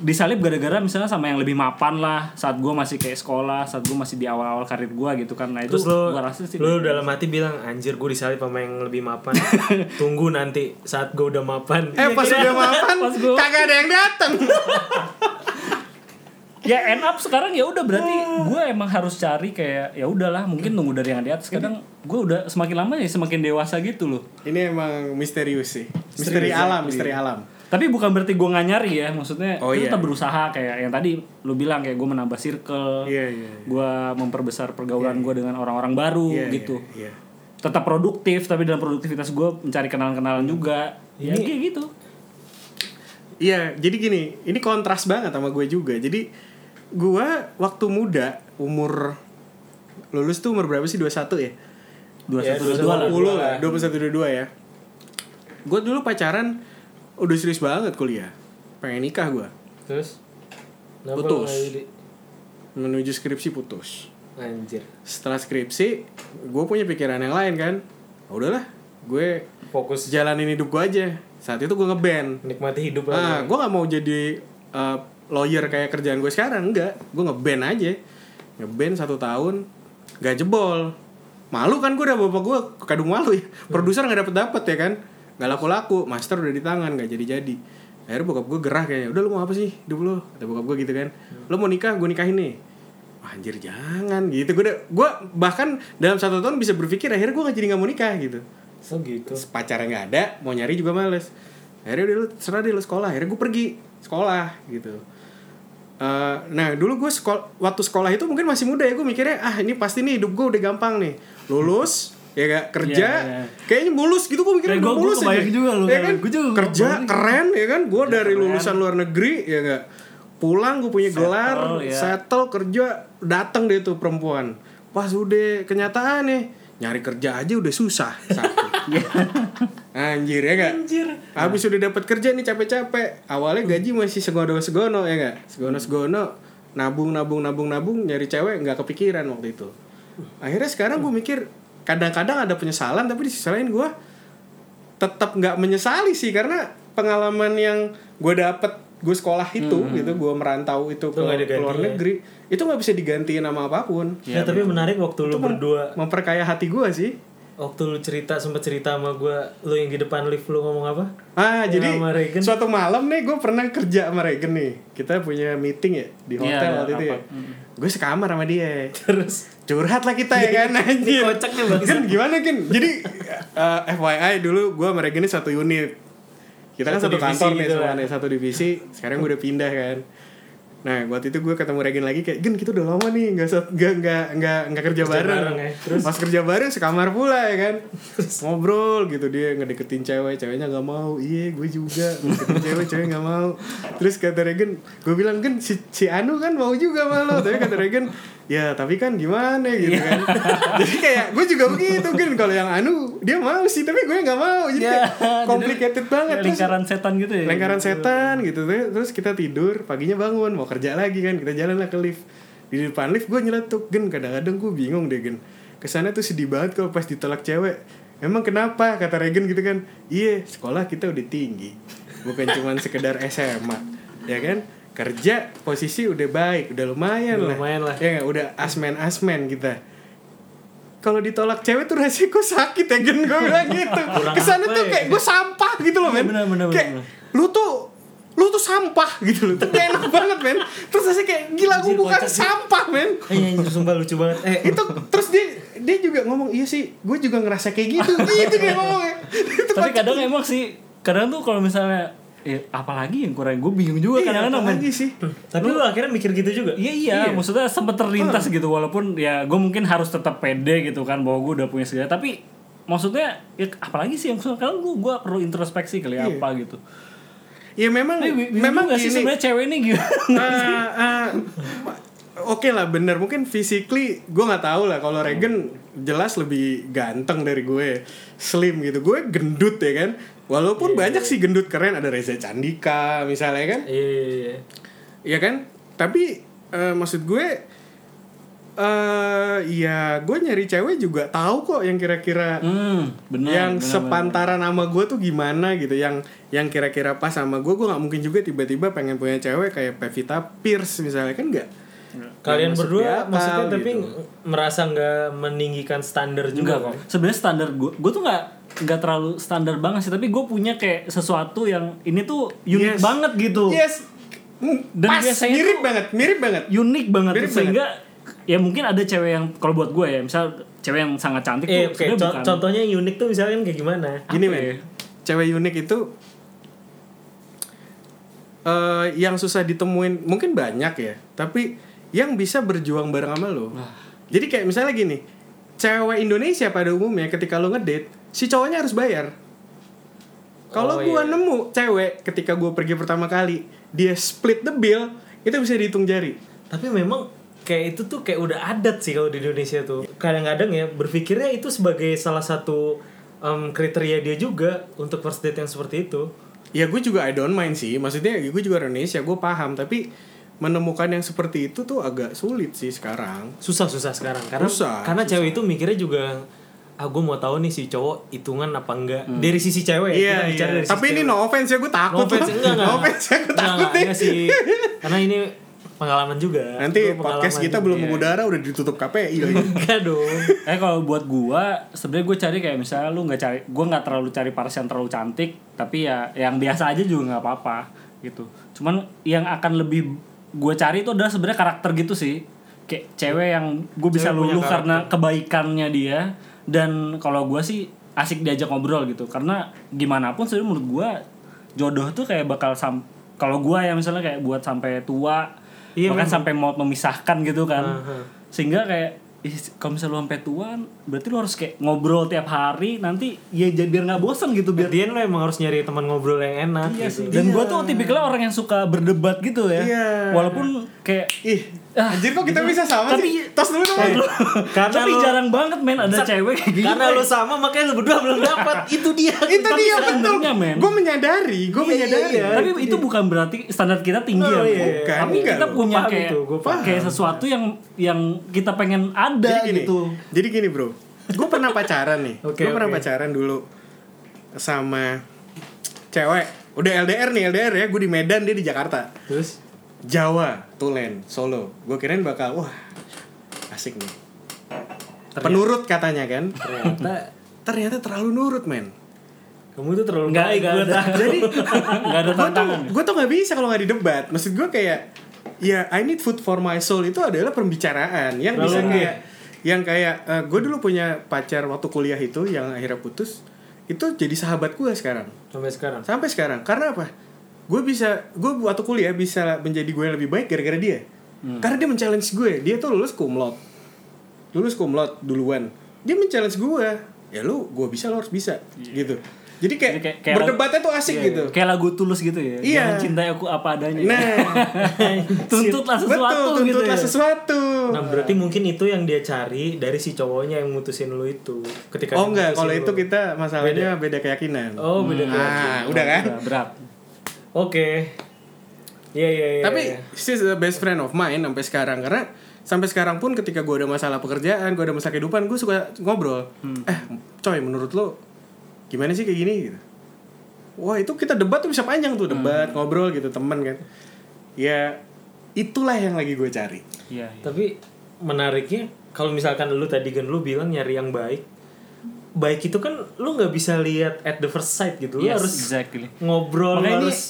Speaker 3: Disalip gara-gara misalnya sama yang lebih mapan lah saat gua masih kayak sekolah, saat gua masih di awal-awal karir gua gitu kan. Nah itu
Speaker 2: Terus lu,
Speaker 3: gua rasa sih
Speaker 2: lu dalam hati bilang Anjir gue disalip sama yang lebih mapan Tunggu nanti saat gue udah mapan
Speaker 1: Eh,
Speaker 2: Iya,
Speaker 1: pas udah mapan,
Speaker 3: Pas gua-
Speaker 1: kagak ada yang datang.
Speaker 3: ya end up sekarang ya udah berarti
Speaker 2: Ah.
Speaker 3: gua emang harus cari kayak ya udahlah mungkin nunggu dari yang di atas. Kadang gua udah semakin lama ya semakin dewasa gitu loh.
Speaker 1: Ini emang misterius iya. Oh, sih. Misteri alam, misteri alam.
Speaker 3: Tapi bukan berarti gua nggak nyari ya, maksudnya
Speaker 1: Oh,
Speaker 3: itu
Speaker 1: iya.
Speaker 3: tetap berusaha kayak yang tadi lu bilang kayak gua menambah circle,
Speaker 1: Iya, iya, iya.
Speaker 3: gua memperbesar pergaulan gua dengan orang-orang baru
Speaker 1: Iya,
Speaker 3: gitu.
Speaker 1: Iya. iya.
Speaker 3: Tetap produktif tapi dalam produktivitas gua mencari kenalan-kenalan juga. Ya kayak gitu.
Speaker 1: Iya, jadi gini, ini kontras banget sama gue juga. Jadi gue waktu muda, umur lulus tuh umur berapa sih? 21 ya?
Speaker 3: Dua
Speaker 2: Ya,
Speaker 3: satu dua dua
Speaker 1: 20 lah,
Speaker 3: lah.
Speaker 1: 21 22 ya. Gue dulu pacaran udah serius banget kuliah. Pengen nikah gue.
Speaker 2: Terus kenapa lu
Speaker 1: Putus.
Speaker 2: nggak jadi?
Speaker 1: Menuju skripsi putus.
Speaker 2: Anjir
Speaker 1: Setelah skripsi, gue punya pikiran yang lain kan. Ah, udahlah, gue
Speaker 2: Fokus
Speaker 1: jalanin hidup gue aja. Saat itu gue ngeband.
Speaker 2: nikmati
Speaker 1: Ah,
Speaker 2: hidup lah
Speaker 1: gue nggak mau jadi uh, lawyer kayak kerjaan gue sekarang, enggak. Gue ngeband aja, ngeband satu tahun, gak jebol. Malu kan gue udah bapak gue, kadung malu ya. Produser nggak dapet dapet ya kan, nggak laku laku, master udah di tangan, nggak jadi jadi. Akhirnya bokap gue gerah kayaknya, udah lu mau apa sih hidup lu? Kata bokap gue gitu kan, lu mau nikah, gue nikahin nih. Wah, Anjir jangan gitu gue gue bahkan dalam satu tahun bisa berpikir akhirnya gue nggak jadi nggak mau nikah gitu
Speaker 2: So gitu
Speaker 1: Terus pacarnya nggak ada mau nyari juga males akhirnya udah lu terserah deh lu sekolah akhirnya gue pergi sekolah gitu Eh, nah dulu gue sekol waktu sekolah itu mungkin masih muda ya gue mikirnya ah ini pasti nih hidup gue udah gampang nih lulus ya gak kerja
Speaker 3: Iya, iya.
Speaker 1: kayaknya mulus gitu gue mikirnya
Speaker 3: Ya, gua-
Speaker 1: udah mulus
Speaker 3: gua kebayang juga lu
Speaker 1: ya
Speaker 3: kan.
Speaker 1: kan
Speaker 3: Gua juga
Speaker 1: kerja
Speaker 3: kebayang.
Speaker 1: keren ya kan gue dari lulusan luar negeri ya gak pulang gue punya gelar
Speaker 3: ya.
Speaker 1: settle kerja datang deh tuh perempuan pas udah kenyataan nih nyari kerja aja udah susah satu Anjir ya gak? Anjir. Habis udah dapat kerja nih capek-capek. Awalnya gaji masih segono-segono ya gak? Segono-segono. Nabung, nabung, nabung, nabung. Nyari cewek nggak kepikiran waktu itu. Akhirnya sekarang gue mikir kadang-kadang ada penyesalan tapi di sisi lain gue tetap nggak menyesali sih karena pengalaman yang gue dapet gue sekolah itu gitu gue merantau itu ke
Speaker 2: Hmm. Itu nggak diganti,
Speaker 1: ke luar
Speaker 2: ya?
Speaker 1: negeri itu nggak bisa digantiin sama apapun
Speaker 2: Ya, tapi menarik waktu lu berdua
Speaker 1: memperkaya hati gue sih
Speaker 2: Waktu lu cerita sempat cerita sama gue Lu yang di depan lift lu ngomong apa?
Speaker 1: Ah,
Speaker 2: Ya,
Speaker 1: jadi
Speaker 2: sama Regen.
Speaker 1: suatu malam nih gue pernah kerja sama Regen nih. Kita punya meeting ya di hotel
Speaker 3: Iya,
Speaker 1: waktu itu ya.
Speaker 3: rapat.
Speaker 2: Hmm.
Speaker 1: Gue sekamar sama dia.
Speaker 2: Terus
Speaker 1: Curhat lah kita ya kan anjir.
Speaker 2: kocak nih, Bang.
Speaker 1: Kan gimana kan? Jadi eh, FYI dulu gue sama Regen ini satu unit. Kita kan satu
Speaker 2: Satu divisi
Speaker 1: kantor nih
Speaker 2: gitu
Speaker 1: semua
Speaker 2: lah.
Speaker 1: nih, satu divisi. Sekarang gue udah pindah kan. Nah, waktu itu gue ketemu Regen lagi kayak, "Gen, kita udah lama nih nggak sat- nggak nggak nggak nggak kerja, bareng."
Speaker 2: bareng ya. Terus?
Speaker 1: Pas kerja bareng sekamar pula ya kan. Ngobrol gitu dia ngedeketin cewek, ceweknya nggak mau. Iya, gue juga ngedeketin cewek, cewek nggak mau. Terus kata Regen, gue bilang kan si, si Anu kan mau juga sama lo. Tapi kata Regen, ya tapi kan gimana gitu kan. Jadi kayak gue juga begitu kan kalau yang Anu dia mau sih, tapi gue nggak mau. Jadi kayak
Speaker 3: Ya,
Speaker 1: complicated banget. Terus Nah,
Speaker 3: lingkaran setan gitu ya.
Speaker 1: lingkaran setan gitu Ter- terus kita tidur paginya bangun mau kerja lagi kan kita jalan lah ke lift di depan lift gue nyeletuk gen kadang-kadang gue bingung deh gen kesana tuh sedih banget kalau pas ditolak cewek emang kenapa kata Regen gitu kan iya sekolah kita udah tinggi bukan cuman sekedar SMA ya kan kerja posisi udah baik udah lumayan
Speaker 2: Udah
Speaker 1: lah
Speaker 2: lumayan lah.
Speaker 1: ya nggak? udah asmen asmen kita kalau ditolak cewek tuh rasanya gue sakit ya Gen gue bilang gitu
Speaker 2: Kurang
Speaker 1: kesannya
Speaker 2: apa
Speaker 1: tuh
Speaker 2: ya? Iya,
Speaker 1: kayak gue sampah gitu loh men
Speaker 2: bener, bener,
Speaker 1: kayak
Speaker 2: bener.
Speaker 1: lu tuh lu tuh sampah gitu loh tuh gak enak banget men terus rasanya kayak gila gue
Speaker 2: Anjir,
Speaker 1: bukan
Speaker 2: kocak sih.
Speaker 1: sampah men
Speaker 2: Eh, anjir, sumpah lucu banget. Eh,
Speaker 1: itu terus dia dia juga ngomong iya sih gue juga ngerasa kayak gitu gitu dia ngomongnya itu
Speaker 3: tapi
Speaker 1: kocak.
Speaker 3: kadang emang sih kadang tuh kalau misalnya eh, apalagi yang kurang gue bingung juga
Speaker 1: Iya,
Speaker 3: kadang-kadang men.
Speaker 1: apalagi sih
Speaker 2: tapi lu akhirnya mikir gitu juga.
Speaker 3: Iya iya, maksudnya sempet terlintas gitu walaupun ya gue mungkin harus tetap pede gitu kan bahwa gue udah punya segala tapi maksudnya ya, apalagi sih yang sekarang gue gue perlu introspeksi kali ya,
Speaker 1: Iya.
Speaker 3: apa gitu.
Speaker 1: ya memang
Speaker 3: Tapi bi- bingung
Speaker 1: memang
Speaker 3: nggak sih
Speaker 1: gini
Speaker 3: sebenarnya cewek ini gitu.
Speaker 1: Ah, ah, ma- Oke lah bener mungkin physically gue nggak tahu lah kalau Regen jelas lebih ganteng dari gue slim gitu gue gendut ya kan walaupun
Speaker 3: Iya,
Speaker 1: banyak sih gendut keren ada Reza Candika misalnya kan
Speaker 2: Iya, iya, iya.
Speaker 1: Iya kan? Tapi eh, maksud gue eh ya gue nyari cewek juga tahu kok yang kira-kira
Speaker 3: Hmm, benar.
Speaker 1: yang
Speaker 3: benar,
Speaker 1: sepantaran sama gue tuh gimana gitu yang yang kira-kira pas sama gue gue nggak mungkin juga tiba-tiba pengen punya cewek kayak Pevita Pierce misalnya kan nggak masuk
Speaker 2: Kalian
Speaker 1: di
Speaker 2: berdua
Speaker 1: akal
Speaker 2: maksudnya tapi
Speaker 1: gitu.
Speaker 2: ng- merasa nggak meninggikan standar
Speaker 3: Enggak
Speaker 2: juga kan?
Speaker 3: kok.
Speaker 2: kok.
Speaker 3: Sebenarnya standar gue, gue tuh nggak nggak terlalu standar banget sih, tapi gue punya kayak sesuatu yang ini tuh unik
Speaker 1: Yes. Iya.
Speaker 3: banget gitu,
Speaker 1: yes Mm,
Speaker 3: Dan
Speaker 1: pas
Speaker 3: biasanya
Speaker 1: mirip
Speaker 3: tuh-
Speaker 1: banget mirip banget
Speaker 3: unik banget
Speaker 1: Mirip
Speaker 3: sehingga ya mungkin ada cewek yang kalau buat gue ya, misal cewek yang sangat cantik
Speaker 2: Eh,
Speaker 3: tuh
Speaker 2: oke.
Speaker 3: sebenarnya
Speaker 2: co-
Speaker 3: bukan.
Speaker 2: Contohnya yang unik tuh misalnya kayak gimana?
Speaker 1: gini
Speaker 3: Apa
Speaker 1: men
Speaker 3: ya?
Speaker 1: cewek unik itu eh yang susah ditemuin mungkin banyak ya tapi yang bisa berjuang bareng sama lo jadi kayak misalnya gini cewek Indonesia pada umumnya ketika lo ngedate si cowoknya harus bayar kalau
Speaker 2: Oh,
Speaker 1: gua
Speaker 2: iya.
Speaker 1: nemu cewek ketika gua pergi pertama kali dia split the bill itu bisa dihitung jari
Speaker 2: Tapi memang kayak itu tuh kayak udah adat sih kalau di Indonesia tuh. Kadang-kadang ya berpikirnya itu sebagai salah satu em, kriteria dia juga untuk first date yang seperti itu.
Speaker 1: ya gue juga I don't mind sih maksudnya gue juga orang Indonesia gue paham tapi menemukan yang seperti itu tuh agak sulit sih sekarang
Speaker 2: Susah-susah sekarang karena
Speaker 1: Susah,
Speaker 2: karena cewek itu mikirnya juga ah gue mau tahu nih si cowok hitungan apa enggak dari sisi cewek ya,
Speaker 1: Iya,
Speaker 2: kita bicara
Speaker 1: iya.
Speaker 2: dari sisi
Speaker 1: Tapi ini
Speaker 2: cewek.
Speaker 1: no offense ya, gue takut.
Speaker 2: no offense
Speaker 1: loh.
Speaker 2: enggak enggak
Speaker 1: No offense ya, gue
Speaker 2: Enggak,
Speaker 1: takut
Speaker 2: enggak,
Speaker 1: nih.
Speaker 2: enggak sih karena ini pengalaman
Speaker 1: Nanti
Speaker 2: juga Gua pengalaman gitu, iya.
Speaker 1: podcast kita
Speaker 2: juga.
Speaker 1: belum mengudara udah ditutup iya, KPI lagi.
Speaker 2: enggak dong
Speaker 3: Eh kalau buat gua, sebenarnya gue cari kayak misalnya lu nggak cari, gua nggak terlalu cari paras yang terlalu cantik, tapi ya yang biasa aja juga nggak apa-apa gitu. Cuman yang akan lebih gue cari itu adalah sebenarnya karakter gitu sih, kayak cewek yang gue bisa
Speaker 2: Cewek punya
Speaker 3: luluh
Speaker 2: karakter.
Speaker 3: karena kebaikannya dia. Dan kalau gua sih asik diajak ngobrol gitu, karena gimana pun sebenarnya menurut gua jodoh tuh kayak bakal sam, kalau gua ya misalnya kayak buat sampai tua,
Speaker 2: Iya,
Speaker 3: bahkan
Speaker 2: memang.
Speaker 3: sampai mau memisahkan gitu kan
Speaker 2: Aha.
Speaker 3: sehingga kayak ih, kalau misalnya lu sampai tua berarti lu harus kayak ngobrol tiap hari nanti ya jadi biar nggak bosan gitu biar
Speaker 2: Dian lo emang harus nyari teman ngobrol yang enak
Speaker 3: Iya
Speaker 2: gitu.
Speaker 3: sih. dan gua tuh tipikalnya orang yang suka berdebat gitu ya
Speaker 1: Iya.
Speaker 3: walaupun kayak
Speaker 1: Ih,
Speaker 3: Ah,
Speaker 1: anjir kok
Speaker 2: gitu.
Speaker 1: kita bisa sama sih?
Speaker 3: Tapi-
Speaker 1: Tos dulu dong.
Speaker 2: Eh, Karena
Speaker 3: tapi
Speaker 2: lu-
Speaker 3: jarang banget men ada cewek kayak gitu
Speaker 2: Karena lu sama makanya lu berdua belum dapat itu dia.
Speaker 1: itu
Speaker 3: tapi
Speaker 1: dia betul.
Speaker 3: sebenarnya, men.
Speaker 1: Gue menyadari, gue
Speaker 2: Iya,
Speaker 1: menyadari. ya.
Speaker 2: iya,
Speaker 3: tapi itu bukan berarti standar kita tinggi
Speaker 2: Oh, iya.
Speaker 3: ya Bu.
Speaker 1: Bukan,
Speaker 3: tapi
Speaker 1: enggak,
Speaker 3: kita
Speaker 1: gua
Speaker 3: punya
Speaker 2: paham
Speaker 3: kayak
Speaker 2: itu, gua paham.
Speaker 3: kayak sesuatu yang yang kita pengen ada
Speaker 1: jadi gini,
Speaker 3: gitu
Speaker 1: Jadi gini bro, gue pernah pacaran nih.
Speaker 2: Oke,
Speaker 1: gue pernah
Speaker 2: oke.
Speaker 1: pacaran dulu sama cewek. Udah LDR nih LDR ya, gue di Medan dia di Jakarta.
Speaker 2: Terus
Speaker 1: Jawa, Tulen, Solo. Gue kirain bakal wah asik nih. Penurut katanya kan.
Speaker 2: ternyata
Speaker 1: Ternyata terlalu nurut men.
Speaker 2: kamu tuh terlalu
Speaker 3: Nggak,
Speaker 2: baik
Speaker 3: nggak
Speaker 2: buat
Speaker 3: ada.
Speaker 2: aku.
Speaker 1: Jadi
Speaker 3: nggak
Speaker 1: gue
Speaker 3: ada
Speaker 1: tuh
Speaker 3: tantangan ya?
Speaker 1: gue tuh nggak bisa kalau nggak didebat. Maksud gue kayak ya I need food for my soul itu adalah pembicaraan yang bisa
Speaker 2: Terlalu
Speaker 1: kayak yang kayak gue dulu punya pacar waktu kuliah itu yang akhirnya putus itu jadi sahabat gue sekarang
Speaker 2: sampai sekarang.
Speaker 1: sampai sekarang karena apa gue bisa gue waktu kuliah bisa menjadi gue yang lebih baik gara-gara dia
Speaker 3: Hmm.
Speaker 1: karena dia men-challenge gue dia tuh lulus cum laude lulus cum laude duluan dia men-challenge gue ya lu gue bisa lu harus bisa gitu jadi kayak,
Speaker 3: Iya. Jadi kayak- kayak-
Speaker 1: berdebatnya tuh asik
Speaker 3: Iya,
Speaker 1: gitu
Speaker 3: kayak lagu tulus gitu ya
Speaker 1: Iya.
Speaker 3: jangan cintai aku apa adanya
Speaker 1: nah
Speaker 3: tuntutlah sesuatu
Speaker 1: betul
Speaker 3: gitu
Speaker 1: tuntutlah
Speaker 3: ya.
Speaker 1: sesuatu
Speaker 2: Nah, berarti mungkin itu yang dia cari dari si cowoknya yang mutusin lu itu ketika
Speaker 1: oh
Speaker 2: dia
Speaker 1: enggak
Speaker 2: mutusin
Speaker 1: kalau
Speaker 2: lu.
Speaker 1: itu kita masalahnya beda, keyakinan
Speaker 2: Oh, beda
Speaker 3: Hmm.
Speaker 1: nah udah kan
Speaker 3: berat
Speaker 2: Oke. Iya, iya, iya.
Speaker 1: tapi
Speaker 2: iya.
Speaker 3: Iya.
Speaker 1: she's the best friend of mine sampai sekarang karena sampai sekarang pun ketika gue ada masalah pekerjaan gue ada masalah kehidupan gue suka ngobrol
Speaker 3: Hmm.
Speaker 1: eh coy menurut lo gimana sih kayak gini gitu wah itu kita debat tuh bisa panjang tuh debat
Speaker 3: Hmm.
Speaker 1: ngobrol gitu temen kan ya itulah yang lagi gue cari
Speaker 3: Iya. iya.
Speaker 2: Tapi menariknya kalau misalkan lu tadi kan lu bilang nyari yang baik. Baik itu kan lu nggak bisa lihat at the first sight gitu. Lu
Speaker 3: Yes,
Speaker 2: harus
Speaker 3: exactly.
Speaker 2: ngobrol lu
Speaker 3: Makanya ini-
Speaker 2: harus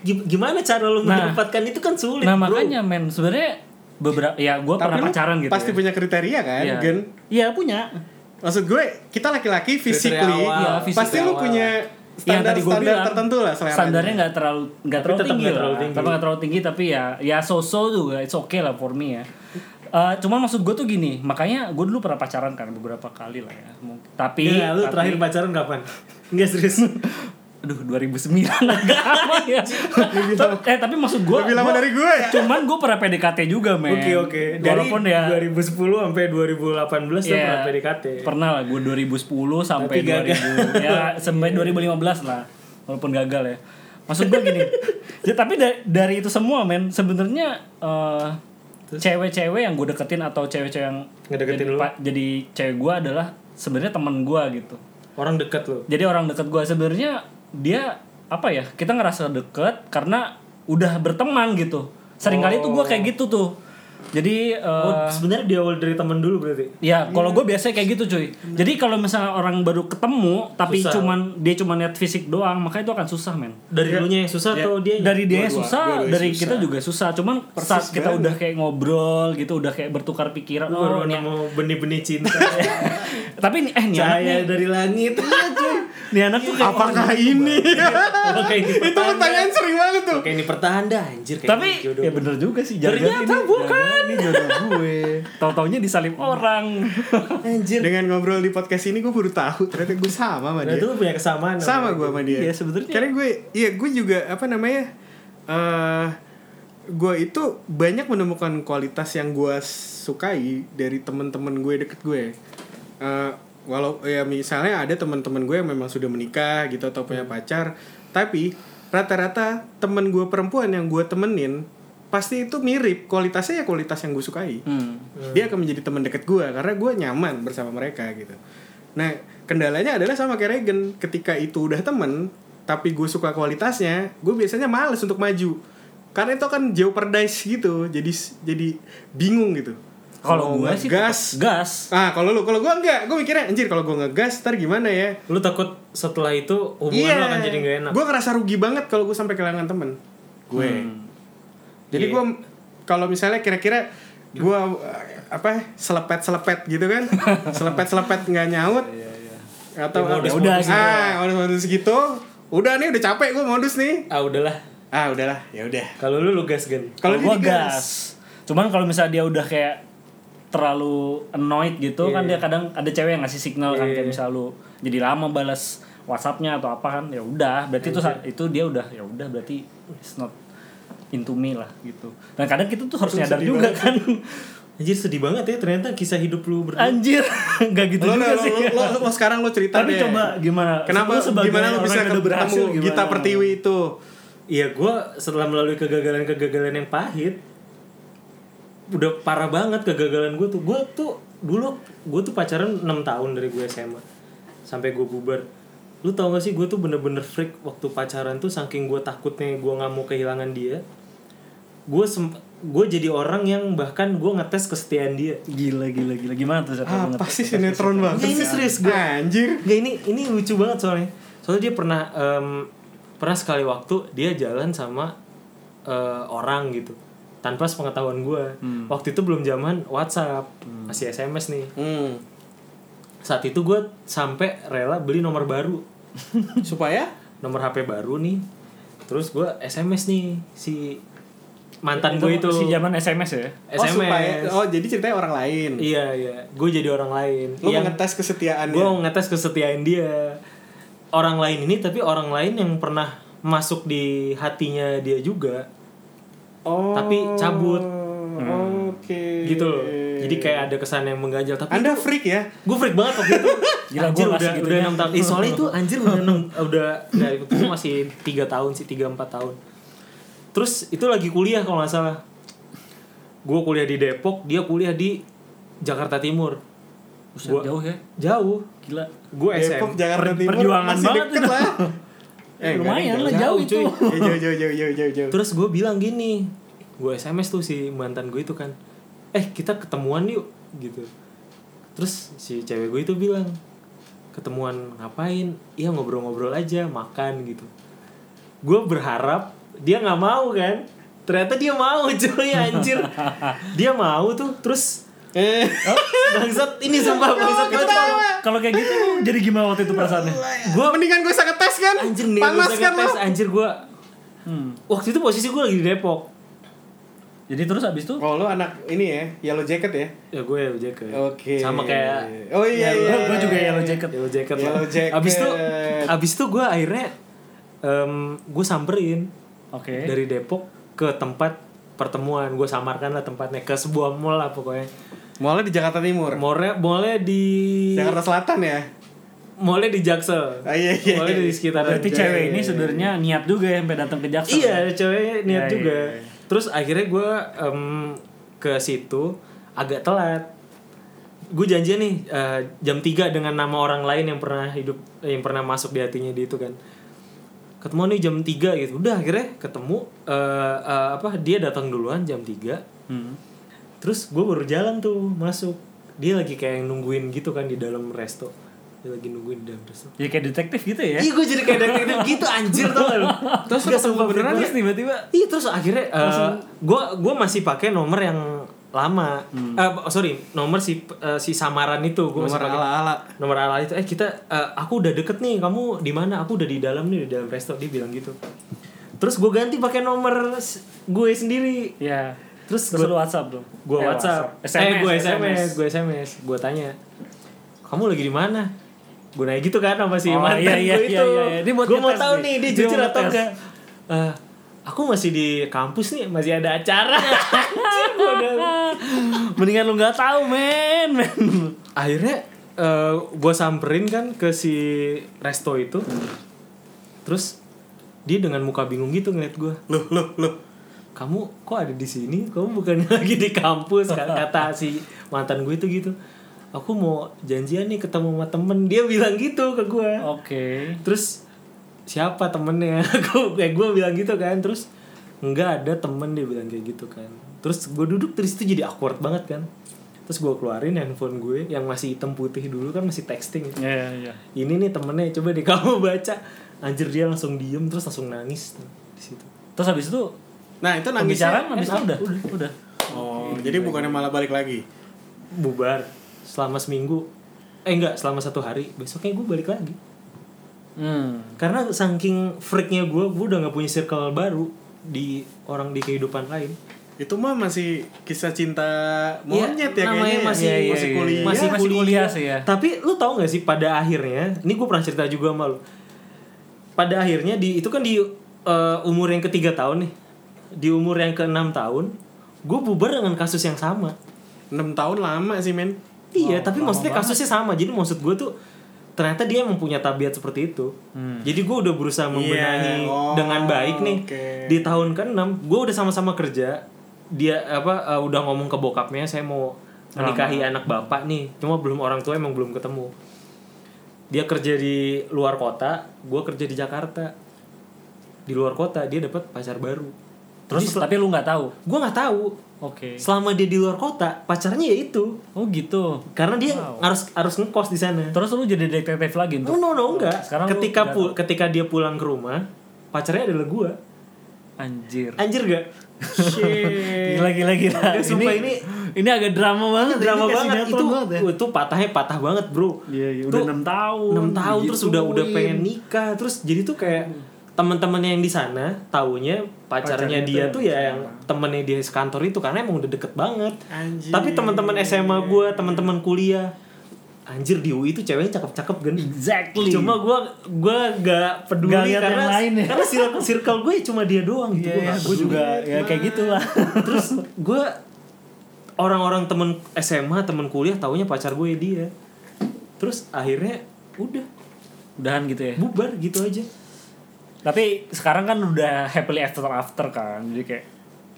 Speaker 2: gi- gimana cara lu
Speaker 3: Nah.
Speaker 2: mendapatkan itu kan sulit,
Speaker 3: Nah,
Speaker 2: Bro.
Speaker 3: makanya men sebenarnya beberapa ya gue pernah
Speaker 1: lu
Speaker 3: pacaran gitu.
Speaker 1: pasti
Speaker 3: ya.
Speaker 1: punya kriteria kan
Speaker 3: Iya.
Speaker 1: gen
Speaker 3: Iya, punya.
Speaker 1: maksud gue kita laki-laki physically
Speaker 2: awal. Iya,
Speaker 3: fisik
Speaker 1: pasti lu
Speaker 2: awal.
Speaker 1: punya
Speaker 3: Yang
Speaker 1: standar
Speaker 3: tadi Iya, gua
Speaker 1: standar
Speaker 3: bilang,
Speaker 1: tertentu lah seleranya.
Speaker 3: Standarnya nggak terlalu nggak
Speaker 2: Tapi
Speaker 3: terlalu,
Speaker 2: tetap
Speaker 3: tinggi
Speaker 2: nggak
Speaker 3: lah.
Speaker 2: terlalu tinggi.
Speaker 3: Tapi nggak terlalu tinggi tapi ya ya so-so juga it's okay lah for me ya. Eh, cuman maksud gue tuh gini, makanya gue dulu pernah pacaran kan beberapa kali lah ya. Mungkin- Tapi
Speaker 2: Iya, lu
Speaker 3: tapi-
Speaker 2: terakhir pacaran kapan? Enggak serius.
Speaker 3: aduh 2009 agak lama ya. Ta- eh tapi maksud gue
Speaker 1: lebih lama dari gue
Speaker 3: cuman gue pernah PDKT juga men.
Speaker 2: Oke oke. Dari
Speaker 3: Walaupun ya
Speaker 2: 2010 sampai 2018 tuh
Speaker 3: Iya.
Speaker 2: pernah PDKT.
Speaker 3: Pernah lah gue 2010 sampai
Speaker 2: Tapi gagal.
Speaker 3: 2000 ya sampai 2015 lah walaupun gagal ya. Maksud gue gini. ya, tapi da- dari itu semua men sebenarnya eh, cewek-cewek yang gue deketin atau cewek-cewek yang
Speaker 2: Ngedeketin
Speaker 3: jadi,
Speaker 2: lu?
Speaker 3: pa- jadi cewek gue adalah sebenarnya teman gue gitu.
Speaker 2: Orang deket lu.
Speaker 3: Jadi orang deket gue sebenarnya dia apa ya kita ngerasa deket karena udah berteman gitu. Seringkali tuh gue kayak gitu tuh. Jadi eh,
Speaker 2: Oh, sebenarnya di awal dari temen dulu berarti.
Speaker 3: Ya, kalau gue biasanya kayak gitu cuy. Jadi kalau misalnya orang baru ketemu tapi
Speaker 2: Susah.
Speaker 3: cuman dia cuman lihat fisik doang, maka itu akan susah men.
Speaker 2: Dari dulunya yang susah atau dia
Speaker 3: Iya.
Speaker 2: ya,
Speaker 3: Dari dia
Speaker 1: Dua-dua-
Speaker 3: susah,
Speaker 1: dua-duanya
Speaker 3: dari
Speaker 1: susah.
Speaker 3: kita juga susah. Cuman saat kita
Speaker 1: banget.
Speaker 3: udah kayak ngobrol gitu, udah kayak bertukar
Speaker 2: Lu
Speaker 3: pikiran. oh, Iya.
Speaker 2: baru
Speaker 3: nih-
Speaker 2: nemu benih-benih cinta
Speaker 3: Tapi ini eh nih anak nih,
Speaker 2: cahaya dari langit
Speaker 3: Iya, nih anak tuh kayak gitu.
Speaker 1: apakah ini
Speaker 2: Oke ini
Speaker 1: itu pertanyaan sering banget tuh
Speaker 2: Oke ini pertahan dah anjir kayak
Speaker 3: tapi
Speaker 2: ini jodoh.
Speaker 3: ya bener juga sih jaga
Speaker 2: Ternyata bukan.
Speaker 3: ini jodoh gue. Tahu-taunya disalib orang.
Speaker 2: anjir.
Speaker 1: dengan ngobrol di podcast ini gue baru tahu ternyata gue sama sama
Speaker 2: Nah,
Speaker 1: dia
Speaker 2: itu lu punya kesamaan. gitu.
Speaker 1: sama
Speaker 2: namanya.
Speaker 1: gue sama dia
Speaker 3: Iya, sebenarnya.
Speaker 1: karena gue iya gue juga apa namanya eh gue itu banyak menemukan kualitas yang gue sukai dari teman-teman gue deket gue Eh, walau ya misalnya ada teman-teman gue yang memang sudah menikah gitu atau punya pacar tapi rata-rata temen gue perempuan yang gue temenin pasti itu mirip kualitasnya ya kualitas yang gue sukai Hmm. dia akan menjadi teman dekat gue karena gue nyaman bersama mereka gitu nah kendalanya adalah sama kayak Regen ketika itu udah temen tapi gue suka kualitasnya gue biasanya males untuk maju karena itu akan jeopardize gitu jadi jadi bingung gitu
Speaker 3: Kalau
Speaker 1: Mau
Speaker 3: gue sih
Speaker 1: ngegas
Speaker 3: tetap gas.
Speaker 1: ah kalau lu kalau gue enggak gue mikirnya anjir kalau gue ngegas ntar gimana ya
Speaker 2: Lu takut setelah itu hubungan lu akan jadi gak enak.
Speaker 1: Gue Iya. ngerasa rugi banget kalau gue sampai kehilangan temen. Gue.
Speaker 3: Hmm. Iya.
Speaker 1: Jadi gue kalau misalnya kira-kira gue apa selepet-selepet gitu kan, selepet-selepet nggak nyaut
Speaker 3: Iya,
Speaker 1: atau
Speaker 2: Ya, modus-
Speaker 1: udah
Speaker 2: modus gitu.
Speaker 1: ah modus-modus gitu, udah nih udah capek gue modus nih.
Speaker 2: Ah udahlah.
Speaker 1: Ah udahlah, ya udah.
Speaker 2: Kalau lu lu gas gan.
Speaker 1: Kalau
Speaker 3: Kalau
Speaker 1: dia
Speaker 3: gua
Speaker 1: digas.
Speaker 3: gas. Cuman kalau misalnya dia udah kayak terlalu annoyed
Speaker 1: Iya.
Speaker 3: gitu kan dia kadang ada cewek yang ngasih signal kan kayak misal lu jadi lama balas WhatsApp-nya atau apa kan ya udah berarti itu sa- itu dia udah ya udah berarti it's not into me lah gitu. Dan kadang kita tuh harus nyadar juga kan
Speaker 2: Anjir sedih banget ya ternyata kisah hidup lu berdua.
Speaker 3: anjir nggak gitu
Speaker 1: Lo, lo,
Speaker 3: juga
Speaker 1: lo,
Speaker 3: sih.
Speaker 1: lo, lo, lo sekarang lo cerita
Speaker 3: Tapi
Speaker 1: deh.
Speaker 3: coba gimana?
Speaker 1: Kenapa?
Speaker 3: Lu sebagai
Speaker 1: gimana lo
Speaker 3: orang
Speaker 1: bisa
Speaker 3: yang udah
Speaker 1: ketemu
Speaker 3: berhasil gimana?
Speaker 1: Gita Pertiwi itu?
Speaker 2: Iya gue setelah melalui kegagalan-kegagalan yang pahit Udah parah banget kegagalan gue tuh Gue tuh dulu gue tuh pacaran 6 tahun dari gue SMA Sampai gue bubar Lu tau gak sih gue tuh bener-bener freak waktu pacaran tuh Saking gue takutnya gue gak mau kehilangan dia Gue gue jadi orang yang bahkan gue ngetes kesetiaan dia
Speaker 3: Gila gila gila gimana tuh Zat? Lu
Speaker 1: Apa
Speaker 3: ngetes-
Speaker 1: Ah, sih sinetron banget?
Speaker 2: Ya, ini
Speaker 1: sih?
Speaker 2: serius gua.
Speaker 1: Anjir.
Speaker 2: Gak ini ini lucu banget soalnya. Soalnya dia pernah em, pernah sekali waktu dia jalan sama eh, orang gitu tanpa sepengetahuan gue. Waktu itu belum zaman WhatsApp masih SMS nih.
Speaker 1: Hmm.
Speaker 2: Saat itu gue sampai rela beli nomor baru
Speaker 1: Supaya?
Speaker 2: nomor HP baru nih. Terus gue SMS nih si mantan gue itu
Speaker 3: si zaman SMS ya.
Speaker 1: Oh,
Speaker 2: SMS.
Speaker 1: supaya, oh jadi ceritanya orang lain.
Speaker 2: Iya iya. Gue jadi orang lain.
Speaker 1: Lo
Speaker 2: Yang-
Speaker 1: mengetes kesetiaan
Speaker 2: gue
Speaker 3: Iya.
Speaker 2: mau ngetes kesetiaan dia orang lain ini tapi orang lain yang pernah masuk di hatinya dia juga
Speaker 1: Oh.
Speaker 2: tapi cabut.
Speaker 1: Oke.
Speaker 2: gitu loh jadi kayak ada kesan yang mengganjal tapi
Speaker 1: Anda freak ya?
Speaker 2: gue freak banget waktu itu
Speaker 3: Gila,
Speaker 2: anjir
Speaker 3: gua ngasih
Speaker 2: udah
Speaker 3: gitu
Speaker 2: udah
Speaker 3: ya.
Speaker 2: enam tahun eh, soalnya itu anjir udah enam udah dari waktu itu masih tiga tahun sih tiga empat tahun terus itu lagi kuliah kalau nggak salah gue kuliah di Depok dia kuliah di Jakarta Timur
Speaker 3: Buset,
Speaker 2: Gua-
Speaker 3: jauh ya
Speaker 2: jauh
Speaker 3: gila
Speaker 2: gue SM
Speaker 1: Depok Jakarta
Speaker 3: Per-
Speaker 1: Timur
Speaker 3: perjuangan
Speaker 1: masih
Speaker 3: banget
Speaker 1: deket
Speaker 3: itu.
Speaker 1: lah
Speaker 3: Eh, lumayan
Speaker 1: enggak,
Speaker 3: lah jauh, itu
Speaker 2: cuy.
Speaker 1: enggak. Eh, jauh jauh jauh jauh jauh jauh
Speaker 2: terus gue bilang gini gue SMS tuh si mantan gue itu kan eh kita ketemuan yuk gitu terus si cewek gue itu bilang ketemuan ngapain iya ngobrol-ngobrol aja makan gitu gue berharap dia nggak mau kan ternyata dia mau cuy anjir dia mau tuh terus
Speaker 1: eh
Speaker 2: bangsat ini sumpah bangsat banget.
Speaker 3: kalau kayak gitu lu jadi gimana waktu itu perasaannya
Speaker 1: gue mendingan gue sakit tes kan
Speaker 2: anjir nih
Speaker 1: panas
Speaker 2: gue
Speaker 1: kan lo
Speaker 2: tes anjir gue
Speaker 3: hmm.
Speaker 2: waktu itu posisi gue lagi di Depok
Speaker 3: jadi terus abis itu
Speaker 1: oh lo anak ini ya yellow jacket ya
Speaker 2: ya gue ya Jack ya.
Speaker 1: oke
Speaker 2: sama kayak
Speaker 1: oh iya iya
Speaker 3: gue gue
Speaker 2: ya.
Speaker 3: juga yellow jacket
Speaker 2: Yellow jacket lah.
Speaker 1: Yellow jacket.
Speaker 2: Abis itu, abis itu gue akhirnya gue samperin
Speaker 3: oke
Speaker 2: dari Depok ke tempat pertemuan. Gue samarkan lah tempatnya ke sebuah mall lah pokoknya.
Speaker 1: Mallnya di Jakarta Timur
Speaker 2: Mallnya, mallnya di,
Speaker 1: Jakarta Selatan ya
Speaker 2: mallnya di Jaksel.
Speaker 1: Ah, iya, iya,
Speaker 2: Mallnya di sekitar.
Speaker 3: berarti cewek ini sebenarnya niat juga ya sampai datang ke Jaksel
Speaker 2: Iya, ceweknya niat
Speaker 3: Iya,
Speaker 2: juga.
Speaker 3: iya,
Speaker 2: Terus akhirnya gue ke situ agak telat. Gue janjian nih eh, jam 3 dengan nama orang lain yang pernah hidup eh, yang pernah masuk di hatinya dia itu kan. Ketemu nih jam 3 gitu. Udah akhirnya ketemu eh, eh, apa dia datang duluan jam 3.
Speaker 3: Hmm.
Speaker 2: Terus gue baru jalan tuh masuk. Dia lagi kayak nungguin gitu kan di dalam resto. Dia lagi nungguin di dalam resto.
Speaker 3: jadi kayak detektif gitu ya
Speaker 2: Iya gue jadi kayak detektif gitu anjir tau gak lu Terus gak sumpah beneran
Speaker 3: terus tiba-tiba
Speaker 2: Iya terus akhirnya gue gua masih pakai nomor yang lama. Eh, sorry, nomor si eh, si samaran itu gue masih
Speaker 1: nomor
Speaker 2: pakai.
Speaker 1: ala ala
Speaker 2: Nomor ala itu. Eh kita eh, aku udah deket nih, kamu di mana? Aku udah di dalam nih, di dalam resto dia bilang gitu. Terus gue ganti pakai nomor s- gue sendiri.
Speaker 3: ya
Speaker 2: Terus
Speaker 3: terus
Speaker 2: gue
Speaker 3: lu WhatsApp dong
Speaker 2: gue
Speaker 3: Eh,
Speaker 2: WhatsApp,
Speaker 3: SMS,
Speaker 2: eh gue SMS, gue SMS, gue tanya, kamu lagi di mana? Gue nanya gitu kan sama si
Speaker 3: Oh,
Speaker 2: mantan
Speaker 3: iya, iya,
Speaker 2: gue
Speaker 3: iya,
Speaker 2: itu,
Speaker 3: iya, iya. Dia buat
Speaker 2: gue mau
Speaker 3: ngetes
Speaker 2: tahu
Speaker 3: nih.
Speaker 2: nih dia
Speaker 3: Dia
Speaker 2: jujur
Speaker 3: mau
Speaker 2: atau
Speaker 3: tes.
Speaker 2: enggak. Eh, aku masih di kampus nih, masih ada acara. Anjir, gua udah-
Speaker 3: mendingan lu nggak tahu men men
Speaker 2: Akhirnya gue samperin kan ke si resto itu, terus dia dengan muka bingung gitu ngeliat gue.
Speaker 1: loh loh loh
Speaker 2: kamu kok ada di sini kamu bukan lagi di kampus Ka- kata si mantan gue itu gitu aku mau janjian nih ketemu sama temen dia bilang gitu ke gue
Speaker 3: oke
Speaker 2: terus siapa temennya aku kayak gue bilang gitu kan terus nggak ada temen dia bilang kayak gitu kan terus gue duduk terus itu jadi awkward banget kan terus gue keluarin handphone gue yang masih hitam putih dulu kan masih texting
Speaker 3: iya iya
Speaker 2: ini nih temennya coba deh kamu baca anjir dia langsung diem terus langsung nangis tuh di situ
Speaker 3: terus habis itu
Speaker 1: nah itu nangisnya
Speaker 3: pembicaraan habis itu udah udah
Speaker 1: oh jadi bukannya malah balik lagi
Speaker 2: bubar selama seminggu eh enggak selama satu hari besoknya gue balik lagi
Speaker 3: hmm
Speaker 2: karena saking freaknya gue gue udah nggak punya circle baru di orang di kehidupan lain
Speaker 1: itu mah masih kisah cinta monyet ya,
Speaker 2: Iya, namanya
Speaker 1: kayaknya ya.
Speaker 2: masih
Speaker 1: Iya, iya,
Speaker 2: masih
Speaker 1: iya.
Speaker 2: kuliah
Speaker 3: Masih kuliah sih ya.
Speaker 2: tapi lu tau gak sih pada akhirnya ini gue pernah cerita juga sama lu pada akhirnya di itu kan di eh, umur yang ketiga tahun nih di umur yang ke enam tahun gue bubar dengan kasus yang sama
Speaker 1: 6 tahun lama sih men Oh,
Speaker 2: Iya, tapi maksudnya kasusnya sama. Jadi maksud gue tuh ternyata dia emang punya tabiat seperti itu. Jadi gue udah berusaha
Speaker 1: Hmm. Iya,
Speaker 2: membenahi
Speaker 1: oh,
Speaker 2: dengan baik nih.
Speaker 1: oke.
Speaker 2: Di tahun ke-6 gue udah sama-sama kerja. Dia apa eh, udah ngomong ke bokapnya saya mau menikahi anak bapak nih. Cuma belum orang tua emang belum ketemu. Dia kerja di luar kota, gue kerja di Jakarta. Di luar kota dia dapat pacar baru.
Speaker 3: terus tapi lu nggak tahu
Speaker 2: Gue nggak tahu.
Speaker 3: oke
Speaker 2: Selama dia di luar kota, pacarnya ya itu.
Speaker 3: oh gitu
Speaker 2: Karena dia harus harus ngekos di sana.
Speaker 3: terus lu jadi detektif lagi
Speaker 2: No
Speaker 3: untuk
Speaker 2: no no enggak.
Speaker 3: Sekarang lu
Speaker 2: ketika pu- ketika dia pulang ke rumah, pacarnya adalah gua.
Speaker 3: anjir
Speaker 2: Anjir gak? Iya,
Speaker 3: gila gila gila
Speaker 2: Dia Eh, sumpah
Speaker 3: ini ini agak drama banget
Speaker 2: Drama
Speaker 3: Ini kayak
Speaker 2: banget
Speaker 3: sinetron
Speaker 2: itu.
Speaker 3: banget ya.
Speaker 2: Itu patahnya patah banget, Bro.
Speaker 3: Iya, iya,
Speaker 2: Tuh,
Speaker 3: udah enam tahun. gitu, Hmm.
Speaker 2: enam tahun terus udah udah
Speaker 1: digituin.
Speaker 2: pengen nikah, terus jadi tuh kayak teman-temannya yang di sana taunya pacarnya,
Speaker 3: Pacarnya
Speaker 2: dia
Speaker 3: tuh
Speaker 2: tuh ya yang temennya dia sekantor itu karena emang udah deket banget.
Speaker 1: Anjir.
Speaker 2: Tapi teman-teman SMA gua, teman-teman kuliah Anjir di UI itu ceweknya cakep-cakep kan
Speaker 3: Exactly.
Speaker 2: Cuma gue gua gak peduli
Speaker 3: Nggak lihat
Speaker 2: karena
Speaker 3: yang lain ya.
Speaker 2: karena circle, circle gue cuma dia doang gitu. Gua
Speaker 3: Iya, iya,
Speaker 2: nggak
Speaker 3: gue
Speaker 2: peduli.
Speaker 3: juga ya kayak gitulah.
Speaker 2: Terus gue orang-orang temen SMA, temen kuliah taunya pacar gue dia. Terus akhirnya udah
Speaker 3: Udahan gitu ya.
Speaker 2: bubar gitu aja.
Speaker 3: Tapi sekarang kan udah happily after after kan. Jadi kayak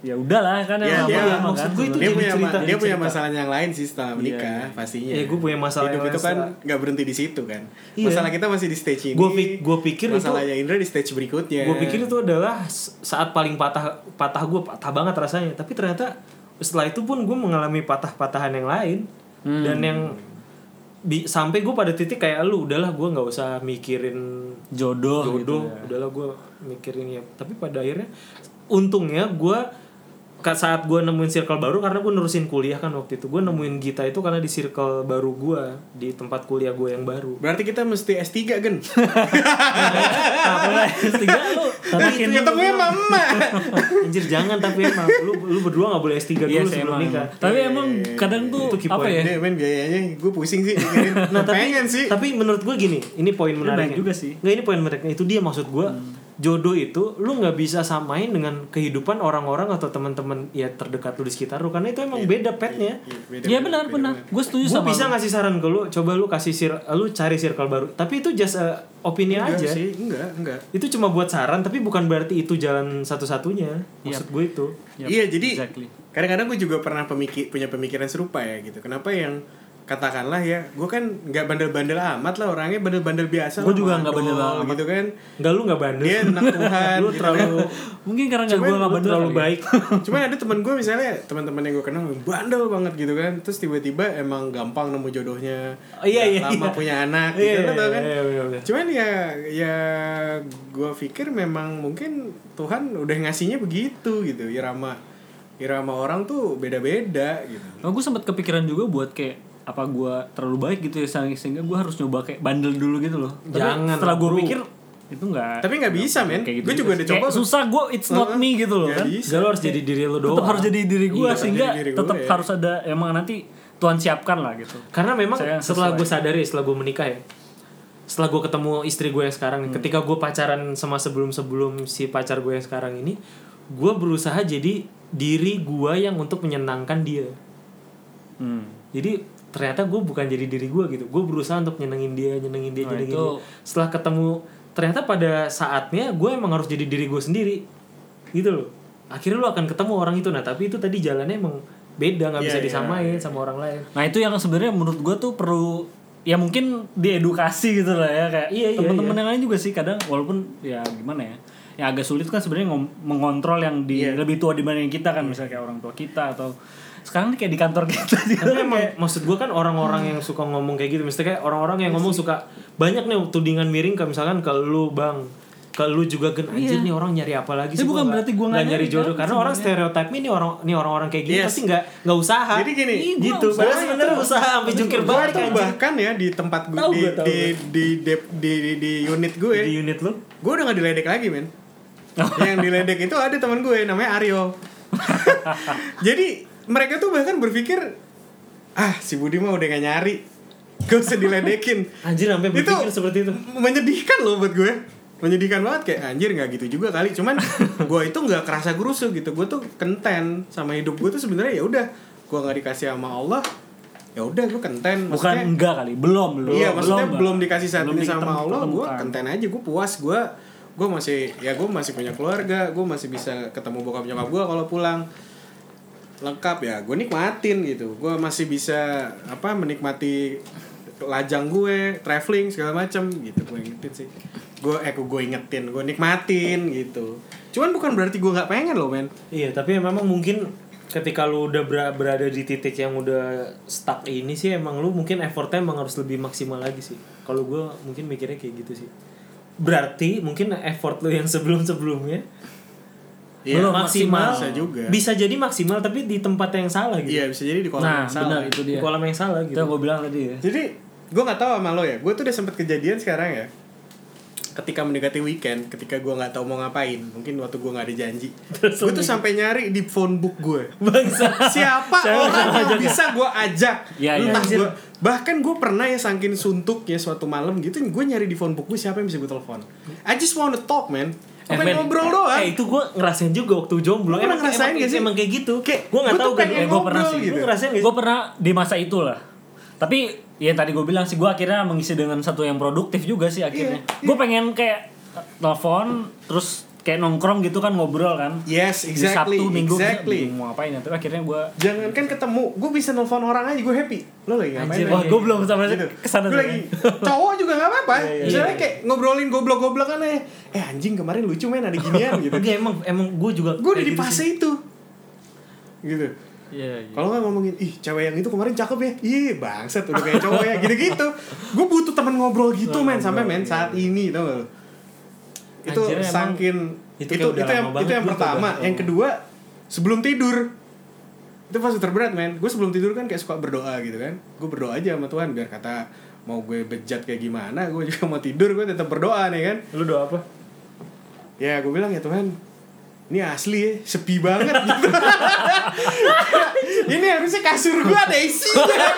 Speaker 3: ya udahlah kan
Speaker 1: Ya,
Speaker 3: yang
Speaker 1: dia,
Speaker 3: lama-lama kan.
Speaker 2: maksud gue itu
Speaker 1: dia
Speaker 2: jadi
Speaker 1: punya
Speaker 2: cerita,
Speaker 1: ma-
Speaker 2: jadi
Speaker 1: dia punya
Speaker 2: cerita.
Speaker 1: masalah yang lain sih setelah menikah pastinya.
Speaker 2: Iya, gue punya masalah
Speaker 1: Hidup
Speaker 2: yang
Speaker 1: itu kan
Speaker 2: lain
Speaker 1: nggak berhenti di situ kan.
Speaker 2: Iya.
Speaker 1: Masalah kita masih di stage ini.
Speaker 2: Gue pik- gue pikir itu-
Speaker 1: masalahnya Indra di stage berikutnya.
Speaker 2: gue pikir itu adalah s- saat paling patah patah gue patah banget rasanya tapi ternyata setelah itu pun gue mengalami patah-patahan yang lain dan yang bi- sampai gue pada titik kayak lu udahlah gue nggak usah mikirin
Speaker 3: jodoh,
Speaker 2: jodoh udahlah gue mikirin ya tapi pada akhirnya untungnya gue saat gue nemuin circle baru karena gue nerusin kuliah kan waktu itu gue nemuin Gita itu karena di circle baru gue di tempat kuliah gue yang baru
Speaker 1: Berarti kita mesti S3 gen.
Speaker 2: Nah, tiga lu Nah,
Speaker 1: Tapi ketemunya sama emak.
Speaker 2: anjir jangan tapi emang lu lu berdua nggak boleh S3 dulu
Speaker 3: Iya sih
Speaker 2: sebelum
Speaker 3: emang.
Speaker 2: nikah Iya,
Speaker 3: Tapi emang kadang tuh
Speaker 2: Itu key
Speaker 3: apa ya?
Speaker 1: Deh, men biayanya gue pusing sih. mikirin. pengen sih.
Speaker 2: Nah, tapi menurut gue gini ini poin menariknya
Speaker 3: juga sih. Hmm.
Speaker 2: nggak ini poin menariknya itu dia maksud gue jodoh itu lu nggak bisa samain dengan kehidupan orang-orang atau teman-teman ya terdekat lu di sekitar lu karena itu emang beda petnya
Speaker 1: Beda-
Speaker 3: Iya benar benar. Gue setuju
Speaker 2: gue
Speaker 3: sama
Speaker 2: bisa ngasih saran ke lu coba lu kasih sir lu cari circle baru tapi itu just a opini
Speaker 3: Iya
Speaker 1: Enggak
Speaker 2: aja
Speaker 1: sih, enggak, enggak.
Speaker 2: itu cuma buat saran tapi bukan berarti itu jalan satu-satunya maksud gue itu
Speaker 3: Yap,
Speaker 1: iya jadi
Speaker 3: exactly.
Speaker 1: kadang-kadang gue juga pernah pemikir punya pemikiran serupa ya gitu. Kenapa yang katakanlah ya, gue kan nggak bandel-bandel amat lah orangnya bandel-bandel biasa.
Speaker 3: Gua
Speaker 1: lah,
Speaker 3: juga
Speaker 1: mandol
Speaker 3: nggak bandel amat.
Speaker 1: gitu kan.
Speaker 2: nggak lu nggak bandel
Speaker 1: Dia anak Tuhan.
Speaker 2: lu
Speaker 1: gitu kan.
Speaker 2: terlalu
Speaker 3: Mungkin karena Iya, nggak
Speaker 2: Cuman
Speaker 3: gue nggak
Speaker 2: lu
Speaker 3: bener
Speaker 2: terlalu
Speaker 3: kali ya.
Speaker 2: baik
Speaker 1: Cuman ada teman gue misalnya teman-teman yang gue kenal bandel banget gitu kan. Terus tiba-tiba emang gampang nemu jodohnya.
Speaker 2: Oh,
Speaker 1: Nggak
Speaker 2: iya, iya,
Speaker 1: Lama
Speaker 2: iya.
Speaker 1: punya anak gitu
Speaker 2: Iya,
Speaker 1: lo tau kan.
Speaker 2: iya, iya, iya.
Speaker 1: Cuman ya ya gue pikir memang mungkin Tuhan udah ngasihnya begitu gitu. Irama irama orang tuh beda-beda gitu.
Speaker 3: Nah, gue sempat kepikiran juga buat kayak apa gue terlalu baik gitu ya sehingga- sehingga gue harus nyoba kayak bandel dulu gitu loh. Tapi
Speaker 2: Jangan,
Speaker 3: Setelah gue
Speaker 2: bro.
Speaker 3: pikir itu nggak.
Speaker 1: Tapi nggak bisa, men.
Speaker 3: Kayak gitu.
Speaker 1: Gue juga udah
Speaker 3: Kayak
Speaker 1: coba.
Speaker 3: susah gue it's not
Speaker 1: Heeh.
Speaker 3: me gitu loh
Speaker 1: Nggak
Speaker 3: kan.
Speaker 1: bisa.
Speaker 2: Enggak lu harus jadi diri lu doang.
Speaker 3: Tetap harus jadi diri gue
Speaker 1: harus
Speaker 3: sehingga
Speaker 1: jadi diri gua,
Speaker 3: tetap
Speaker 1: ya.
Speaker 3: harus ada emang nanti Tuhan siapkan lah gitu.
Speaker 2: Karena memang
Speaker 3: Saya yang
Speaker 2: setelah
Speaker 3: sesuai.
Speaker 2: gue sadari setelah gue menikah ya. Setelah gue ketemu istri gue yang sekarang, nih, ketika gue pacaran sama sebelum-sebelum si pacar gue yang sekarang ini, gue berusaha jadi diri gue yang untuk menyenangkan dia.
Speaker 3: Hmm.
Speaker 2: Jadi ternyata gue bukan jadi diri gue gitu. Gue berusaha untuk nyenengin dia, nyenengin dia,
Speaker 3: Nah,
Speaker 2: nyenengin
Speaker 3: itu-
Speaker 2: dia. Setelah ketemu ternyata pada saatnya gue emang harus jadi diri gue sendiri. Gitu loh. Akhirnya lu akan ketemu orang itu. Nah, tapi itu tadi jalannya emang beda, nggak
Speaker 1: Iya,
Speaker 2: bisa
Speaker 1: iya,
Speaker 2: disamain sama orang lain.
Speaker 3: Nah itu yang sebenarnya menurut gue tuh perlu ya mungkin diedukasi gitu lah ya kayak
Speaker 2: Iya, iya,
Speaker 3: teman-teman yang lain juga sih kadang walaupun ya gimana ya yang agak sulit kan sebenarnya ngom- mengontrol yang di
Speaker 1: Iya.
Speaker 3: lebih tua dibanding kita kan misalnya kayak orang tua kita atau sekarang nih kayak di kantor kita sih
Speaker 2: Tapi emang maksud gue kan orang-orang yang suka ngomong kayak gitu, mesti kayak orang-orang yang ngomong suka banyak nih tudingan miring, kayak misalkan ke lu bang, ke lu juga gen anjir nih orang nyari apa lagi sih?
Speaker 3: Tapi bukan
Speaker 2: nggak-
Speaker 3: berarti gua nggak
Speaker 2: nggak nyari
Speaker 3: nyari,
Speaker 2: jodoh,
Speaker 3: kan,
Speaker 2: karena orang stereotip ini orang nih orang-orang kayak gini
Speaker 1: Yes.
Speaker 2: pasti nggak nggak usaha.
Speaker 1: Jadi gini,
Speaker 2: Ih, gua
Speaker 1: gitu,
Speaker 2: usaha,
Speaker 1: gua-
Speaker 2: bener usaha sampai jungkir
Speaker 1: Gua
Speaker 2: balik
Speaker 1: tuh
Speaker 2: anjir.
Speaker 1: bahkan ya di tempat gue
Speaker 2: Tahu
Speaker 1: di,
Speaker 2: gua, tahu
Speaker 1: di, di, dep- di, di, di unit ya, gue
Speaker 2: Di unit lu?
Speaker 1: gue udah gak diledek lagi men yang diledek itu ada teman gue namanya Aryo jadi mereka tuh bahkan berpikir ah si Budi mah udah gak nyari gak usah diledekin
Speaker 2: Anjir sampai
Speaker 1: Itu-
Speaker 2: berpikir seperti itu.
Speaker 1: menyedihkan loh buat gue menyedihkan banget kayak anjir nggak gitu juga kali cuman gue itu nggak kerasa gerusu gitu gue tuh kenten sama hidup gue tuh sebenarnya ya udah gue nggak dikasih sama Allah ya udah gue kenten
Speaker 3: bukan
Speaker 1: Maksudnya-
Speaker 3: enggak kali belum belum
Speaker 1: iya maksudnya
Speaker 3: Bang.
Speaker 1: belum, dikasih saat
Speaker 3: Belum
Speaker 1: ini sama
Speaker 3: diketem-
Speaker 1: Allah gue
Speaker 3: ketemukan.
Speaker 1: kenten aja gue puas gue gue masih ya gue masih punya keluarga gue masih bisa ketemu bokap nyokap gue kalau pulang lengkap ya gue nikmatin gitu gue masih bisa apa menikmati lajang gue traveling segala macem gitu gue ingetin sih gue eh gue ingetin gue nikmatin gitu cuman bukan berarti gue nggak pengen loh men
Speaker 2: Iya, tapi memang mungkin ketika lu udah ber- berada di titik yang udah stuck ini sih emang lu mungkin effortnya emang harus lebih maksimal lagi sih. Kalau gue mungkin mikirnya kayak gitu sih. Berarti mungkin effort lu yang sebelum-sebelumnya
Speaker 1: Iya,
Speaker 2: belum maksimal,
Speaker 1: bisa juga
Speaker 2: Bisa jadi maksimal tapi di tempat yang salah gitu.
Speaker 1: iya bisa jadi di kolam yang
Speaker 3: nah
Speaker 1: salah.
Speaker 3: benar itu
Speaker 2: Di
Speaker 3: dia
Speaker 2: kolam yang salah
Speaker 3: itu
Speaker 2: gitu.
Speaker 3: yang gue bilang tadi ya
Speaker 1: Jadi gue nggak tahu sama lo ya. Gue tuh udah sempet kejadian sekarang ya. Ketika mendekati weekend, ketika gue nggak tahu mau ngapain, mungkin waktu gue nggak ada janji, gue tuh sampai nyari di phone book gue. Siapa orang yang bisa gue ajak?
Speaker 3: Iya, iya.
Speaker 1: Entah gua- bahkan gue pernah ya saking suntuknya suatu malam gitu, gue nyari di phone book gue siapa yang bisa gue telepon. I just wanna talk man.
Speaker 2: Eh,
Speaker 1: Apa
Speaker 2: men,
Speaker 1: ngobrol doang?
Speaker 2: Eh, itu gue ngerasain juga waktu
Speaker 1: Lu
Speaker 2: jomblo.
Speaker 1: pernah
Speaker 2: Emang
Speaker 1: ngerasain
Speaker 2: emang,
Speaker 1: gak sih?
Speaker 2: Emang kayak gitu.
Speaker 1: Kayak,
Speaker 2: gue nggak
Speaker 1: gua
Speaker 2: tahu
Speaker 1: tuh
Speaker 2: kan.
Speaker 1: pengen
Speaker 2: Eh, gue pernah
Speaker 1: ngobrol
Speaker 2: sih.
Speaker 1: gitu.
Speaker 2: Lu ngerasain gak sih?
Speaker 3: gue pernah di masa itulah tapi ya tadi gue bilang sih gue akhirnya
Speaker 1: Iya,
Speaker 3: mengisi dengan satu yang produktif juga sih akhirnya gue pengen kayak telepon terus kayak nongkrong gitu kan ngobrol kan
Speaker 1: Yes,
Speaker 3: Di
Speaker 1: Iya, exactly.
Speaker 3: Sabtu minggu gitu.
Speaker 1: exactly.
Speaker 3: bingung mau ngapain ya tapi akhirnya gue
Speaker 1: Jangankan ketemu, gue bisa nelfon orang aja gue happy. Lo lagi ngapain?
Speaker 2: Anjir,
Speaker 1: Ray?
Speaker 3: wah gue belum sama
Speaker 1: gitu.
Speaker 3: kesana
Speaker 1: Gue
Speaker 3: tuh,
Speaker 1: lagi
Speaker 3: kan. Iya,
Speaker 1: cowok juga nggak apa-apa. Misalnya kayak ngobrolin goblok-goblok kan eh, eh anjing kemarin lucu men ada ginian gitu.
Speaker 2: Oke, emang emang gue juga
Speaker 1: gue udah di
Speaker 2: kayak gitu sih.
Speaker 1: fase itu. Gitu.
Speaker 3: Iya, iya.
Speaker 1: Kalau nggak ngomongin, ih cewek yang itu kemarin cakep ya, iya bangset udah kayak cowok ya, gitu-gitu. Gue butuh temen ngobrol gitu men sampai men saat ini tau gak lo? Itu
Speaker 2: Iya, Anjir, emang
Speaker 1: saking itu
Speaker 2: itu kayak
Speaker 1: itu,
Speaker 2: udah lama
Speaker 1: yang
Speaker 2: banget
Speaker 1: itu yang
Speaker 2: gitu,
Speaker 1: pertama,
Speaker 2: udah.
Speaker 1: yang kedua sebelum tidur itu pasti terberat men. Gue sebelum tidur kan kayak suka berdoa gitu kan, gue berdoa aja sama Tuhan biar kata mau gue bejat kayak gimana, gue juga mau tidur gue tetap berdoa nih kan.
Speaker 2: Lu doa apa?
Speaker 1: Ya gue bilang ya Tuhan Ini asli ya Sepi banget gitu Ini harusnya kasur gue ada isinya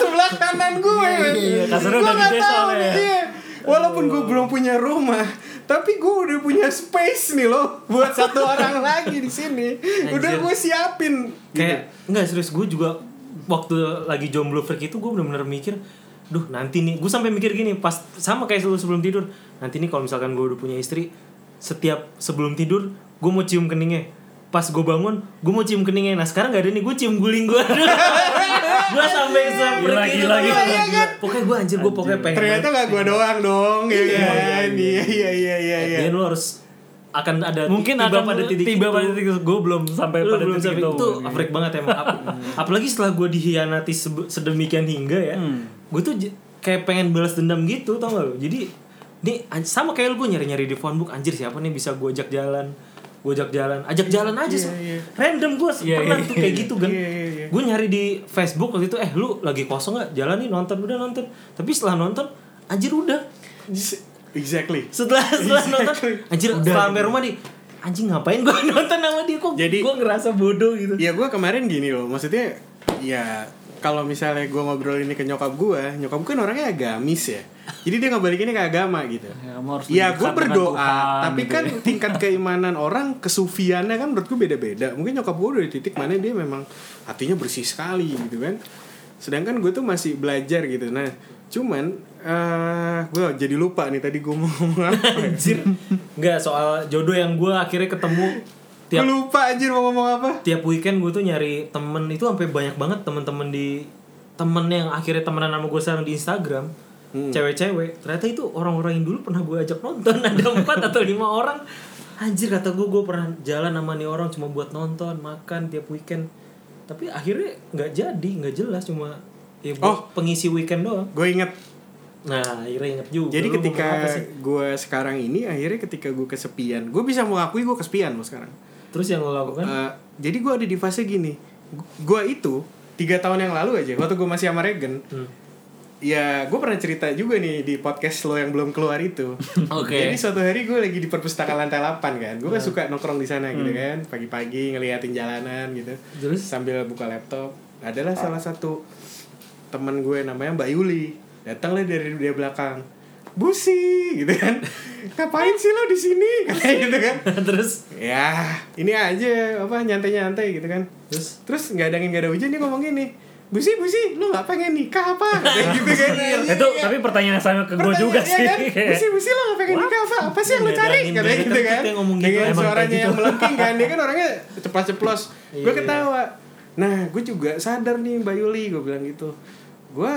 Speaker 1: Sebelah kanan gue men.
Speaker 2: iya, kasurnya
Speaker 1: Gua
Speaker 2: udah
Speaker 1: nggak
Speaker 2: gede
Speaker 1: tahu
Speaker 2: soalnya
Speaker 1: nih,
Speaker 2: ya.
Speaker 1: iya. Walaupun gue belum punya rumah tapi gue udah punya space nih loh buat satu orang lagi di sini. Udah
Speaker 2: Anjir.
Speaker 1: gue siapin.
Speaker 3: Iya.
Speaker 1: Gitu.
Speaker 2: Kayak enggak serius gue juga waktu lagi jomblo freak itu gue bener-bener mikir Duh nanti nih, gue sampai mikir gini pas sama kayak lu sebelum tidur Nanti nih kalau misalkan gue udah punya istri Setiap sebelum tidur gue mau cium keningnya Pas gue bangun, gue mau cium keningnya Nah sekarang gak ada nih, gue cium guling gue Gue sampai sampai
Speaker 3: Gila, gila, gila,
Speaker 1: gila.
Speaker 2: Pokoknya gue anjir, gue pokoknya pengen
Speaker 1: Ternyata gak gue doang dong, ya kan? Iya iya iya iya. iya.
Speaker 2: Dia Eh, lu harus akan ada
Speaker 3: mungkin
Speaker 2: tiba
Speaker 3: akan
Speaker 2: pada titik
Speaker 3: tiba
Speaker 2: itu.
Speaker 3: pada titik gue belum sampai
Speaker 2: Lu
Speaker 3: pada
Speaker 2: belum
Speaker 3: titik
Speaker 2: sampai
Speaker 3: itu,
Speaker 2: itu Iya. afrik banget emang Ap- apalagi setelah gue dihianati sebe- sedemikian hingga ya gue tuh j- kayak pengen balas dendam gitu tau gak lo jadi ini an- sama kayak lu gue nyari nyari di phonebook anjir siapa nih bisa gue ajak jalan gue ajak jalan ajak jalan aja
Speaker 1: Iya,
Speaker 2: se-
Speaker 1: iya.
Speaker 2: random gue
Speaker 3: Iya,
Speaker 2: pernah
Speaker 3: iya,
Speaker 2: tuh kayak gitu kan
Speaker 1: Iya, iya, iya.
Speaker 2: gue nyari di Facebook waktu itu eh lu lagi kosong gak jalan nih nonton udah nonton tapi setelah nonton anjir udah
Speaker 1: Exactly.
Speaker 2: setelah setelah nonton
Speaker 1: Exactly.
Speaker 2: anjir setelah sampai rumah di anjing ngapain gue nonton sama dia kok
Speaker 1: Jadi-
Speaker 2: gue ngerasa bodoh gitu
Speaker 1: Ya gue kemarin gini loh, maksudnya ya kalau misalnya gue ngobrol ini ke nyokap gue, nyokap gue kan orangnya agamis ya. Jadi dia ngebalikinnya ke agama gitu.
Speaker 3: Ya, kamu harus
Speaker 1: Ya gue
Speaker 3: lebih dekat dengan Tuhan,
Speaker 1: berdoa, tapi
Speaker 3: gitu
Speaker 1: kan
Speaker 3: ya.
Speaker 1: tingkat keimanan orang kesufiannya kan menurut gue beda-beda. Mungkin nyokap gue udah di titik mana dia memang hatinya bersih sekali gitu kan. Sedangkan gue tuh masih belajar gitu. Nah, cuman eh gue jadi lupa nih tadi gue mau ngomong apa. ya.
Speaker 2: anjir nggak soal jodoh yang gue akhirnya ketemu
Speaker 1: Gue
Speaker 2: tiap
Speaker 1: lupa anjir mau ngomong apa.
Speaker 2: tiap weekend gue tuh nyari temen itu sampai banyak banget temen-temen di temen yang akhirnya temenan sama gue sekarang di Instagram
Speaker 1: Hmm.
Speaker 2: cewek-cewek ternyata itu orang-orang yang dulu pernah gue ajak nonton ada empat atau lima orang anjir kata gue gue pernah jalan sama nih orang cuma buat nonton makan tiap weekend tapi akhirnya nggak jadi nggak jelas cuma ya buat
Speaker 1: Oh.
Speaker 2: pengisi weekend doang
Speaker 1: Gue inget
Speaker 2: nah akhirnya inget juga
Speaker 1: Jadi
Speaker 2: Lu ngomong
Speaker 1: ketika
Speaker 2: apa sih?
Speaker 1: gue sekarang ini akhirnya ketika gue kesepian, gue bisa mengakui gue kesepian loh sekarang.
Speaker 2: terus yang lo lakukan
Speaker 1: Eh, jadi gue ada di fase gini, gue itu tiga tahun yang lalu aja waktu gue masih sama Regen,
Speaker 2: Hmm.
Speaker 1: ya gue pernah cerita juga nih di podcast lo yang belum keluar itu.
Speaker 3: Oke.
Speaker 1: Jadi suatu hari gue lagi di perpustakaan lantai 8 kan, gue kan suka nongkrong di sana gitu kan, pagi-pagi ngeliatin jalanan gitu,
Speaker 2: Terus?
Speaker 1: sambil buka laptop. Adalah salah satu teman gue namanya Mbak Yuli, datanglah dari dia belakang. Busi gitu kan. Ngapain sih lo di sini? Kayak gitu kan
Speaker 2: terus
Speaker 1: ya ini aja apa nyantai-nyantai gitu kan
Speaker 2: terus
Speaker 1: terus nggak ada angin nggak ada hujan dia ngomong gini busi busi lu nggak pengen nikah apa Kayak gitu kan Iya,
Speaker 3: itu
Speaker 1: iya.
Speaker 3: tapi pertanyaan sama ke gue
Speaker 1: Pertanyaan,
Speaker 3: juga
Speaker 1: iya
Speaker 3: sih
Speaker 1: kan? busi busi lu nggak pengen nikah apa apa sih yang lu
Speaker 2: Nggak ada
Speaker 1: cari
Speaker 2: angin,
Speaker 1: katanya
Speaker 2: nggak ada
Speaker 1: gitu kan
Speaker 2: tapi dia ngomong gitu,
Speaker 1: dengan
Speaker 2: emang kayak
Speaker 1: suaranya
Speaker 2: gitu.
Speaker 1: yang melengking kan dia kan orangnya ceplos ceplos gue
Speaker 2: Iya.
Speaker 1: ketawa nah gue juga sadar nih mbak Yuli gue bilang gitu gue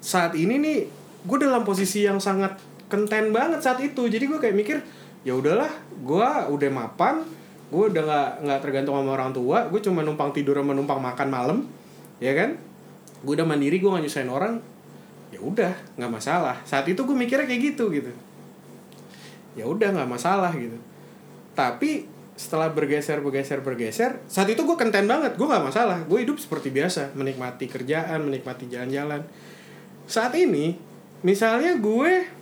Speaker 1: saat ini nih gue dalam posisi yang sangat kenten banget saat itu jadi gue kayak mikir ya udahlah gue udah mapan gue udah nggak nggak tergantung sama orang tua gue cuma numpang tidur sama numpang makan malam ya kan gue udah mandiri gue nggak nyusahin orang ya udah nggak masalah saat itu gue mikirnya kayak gitu gitu ya udah nggak masalah gitu tapi setelah bergeser bergeser bergeser saat itu gue kenten banget gue nggak masalah gue hidup seperti biasa menikmati kerjaan menikmati jalan-jalan saat ini misalnya gue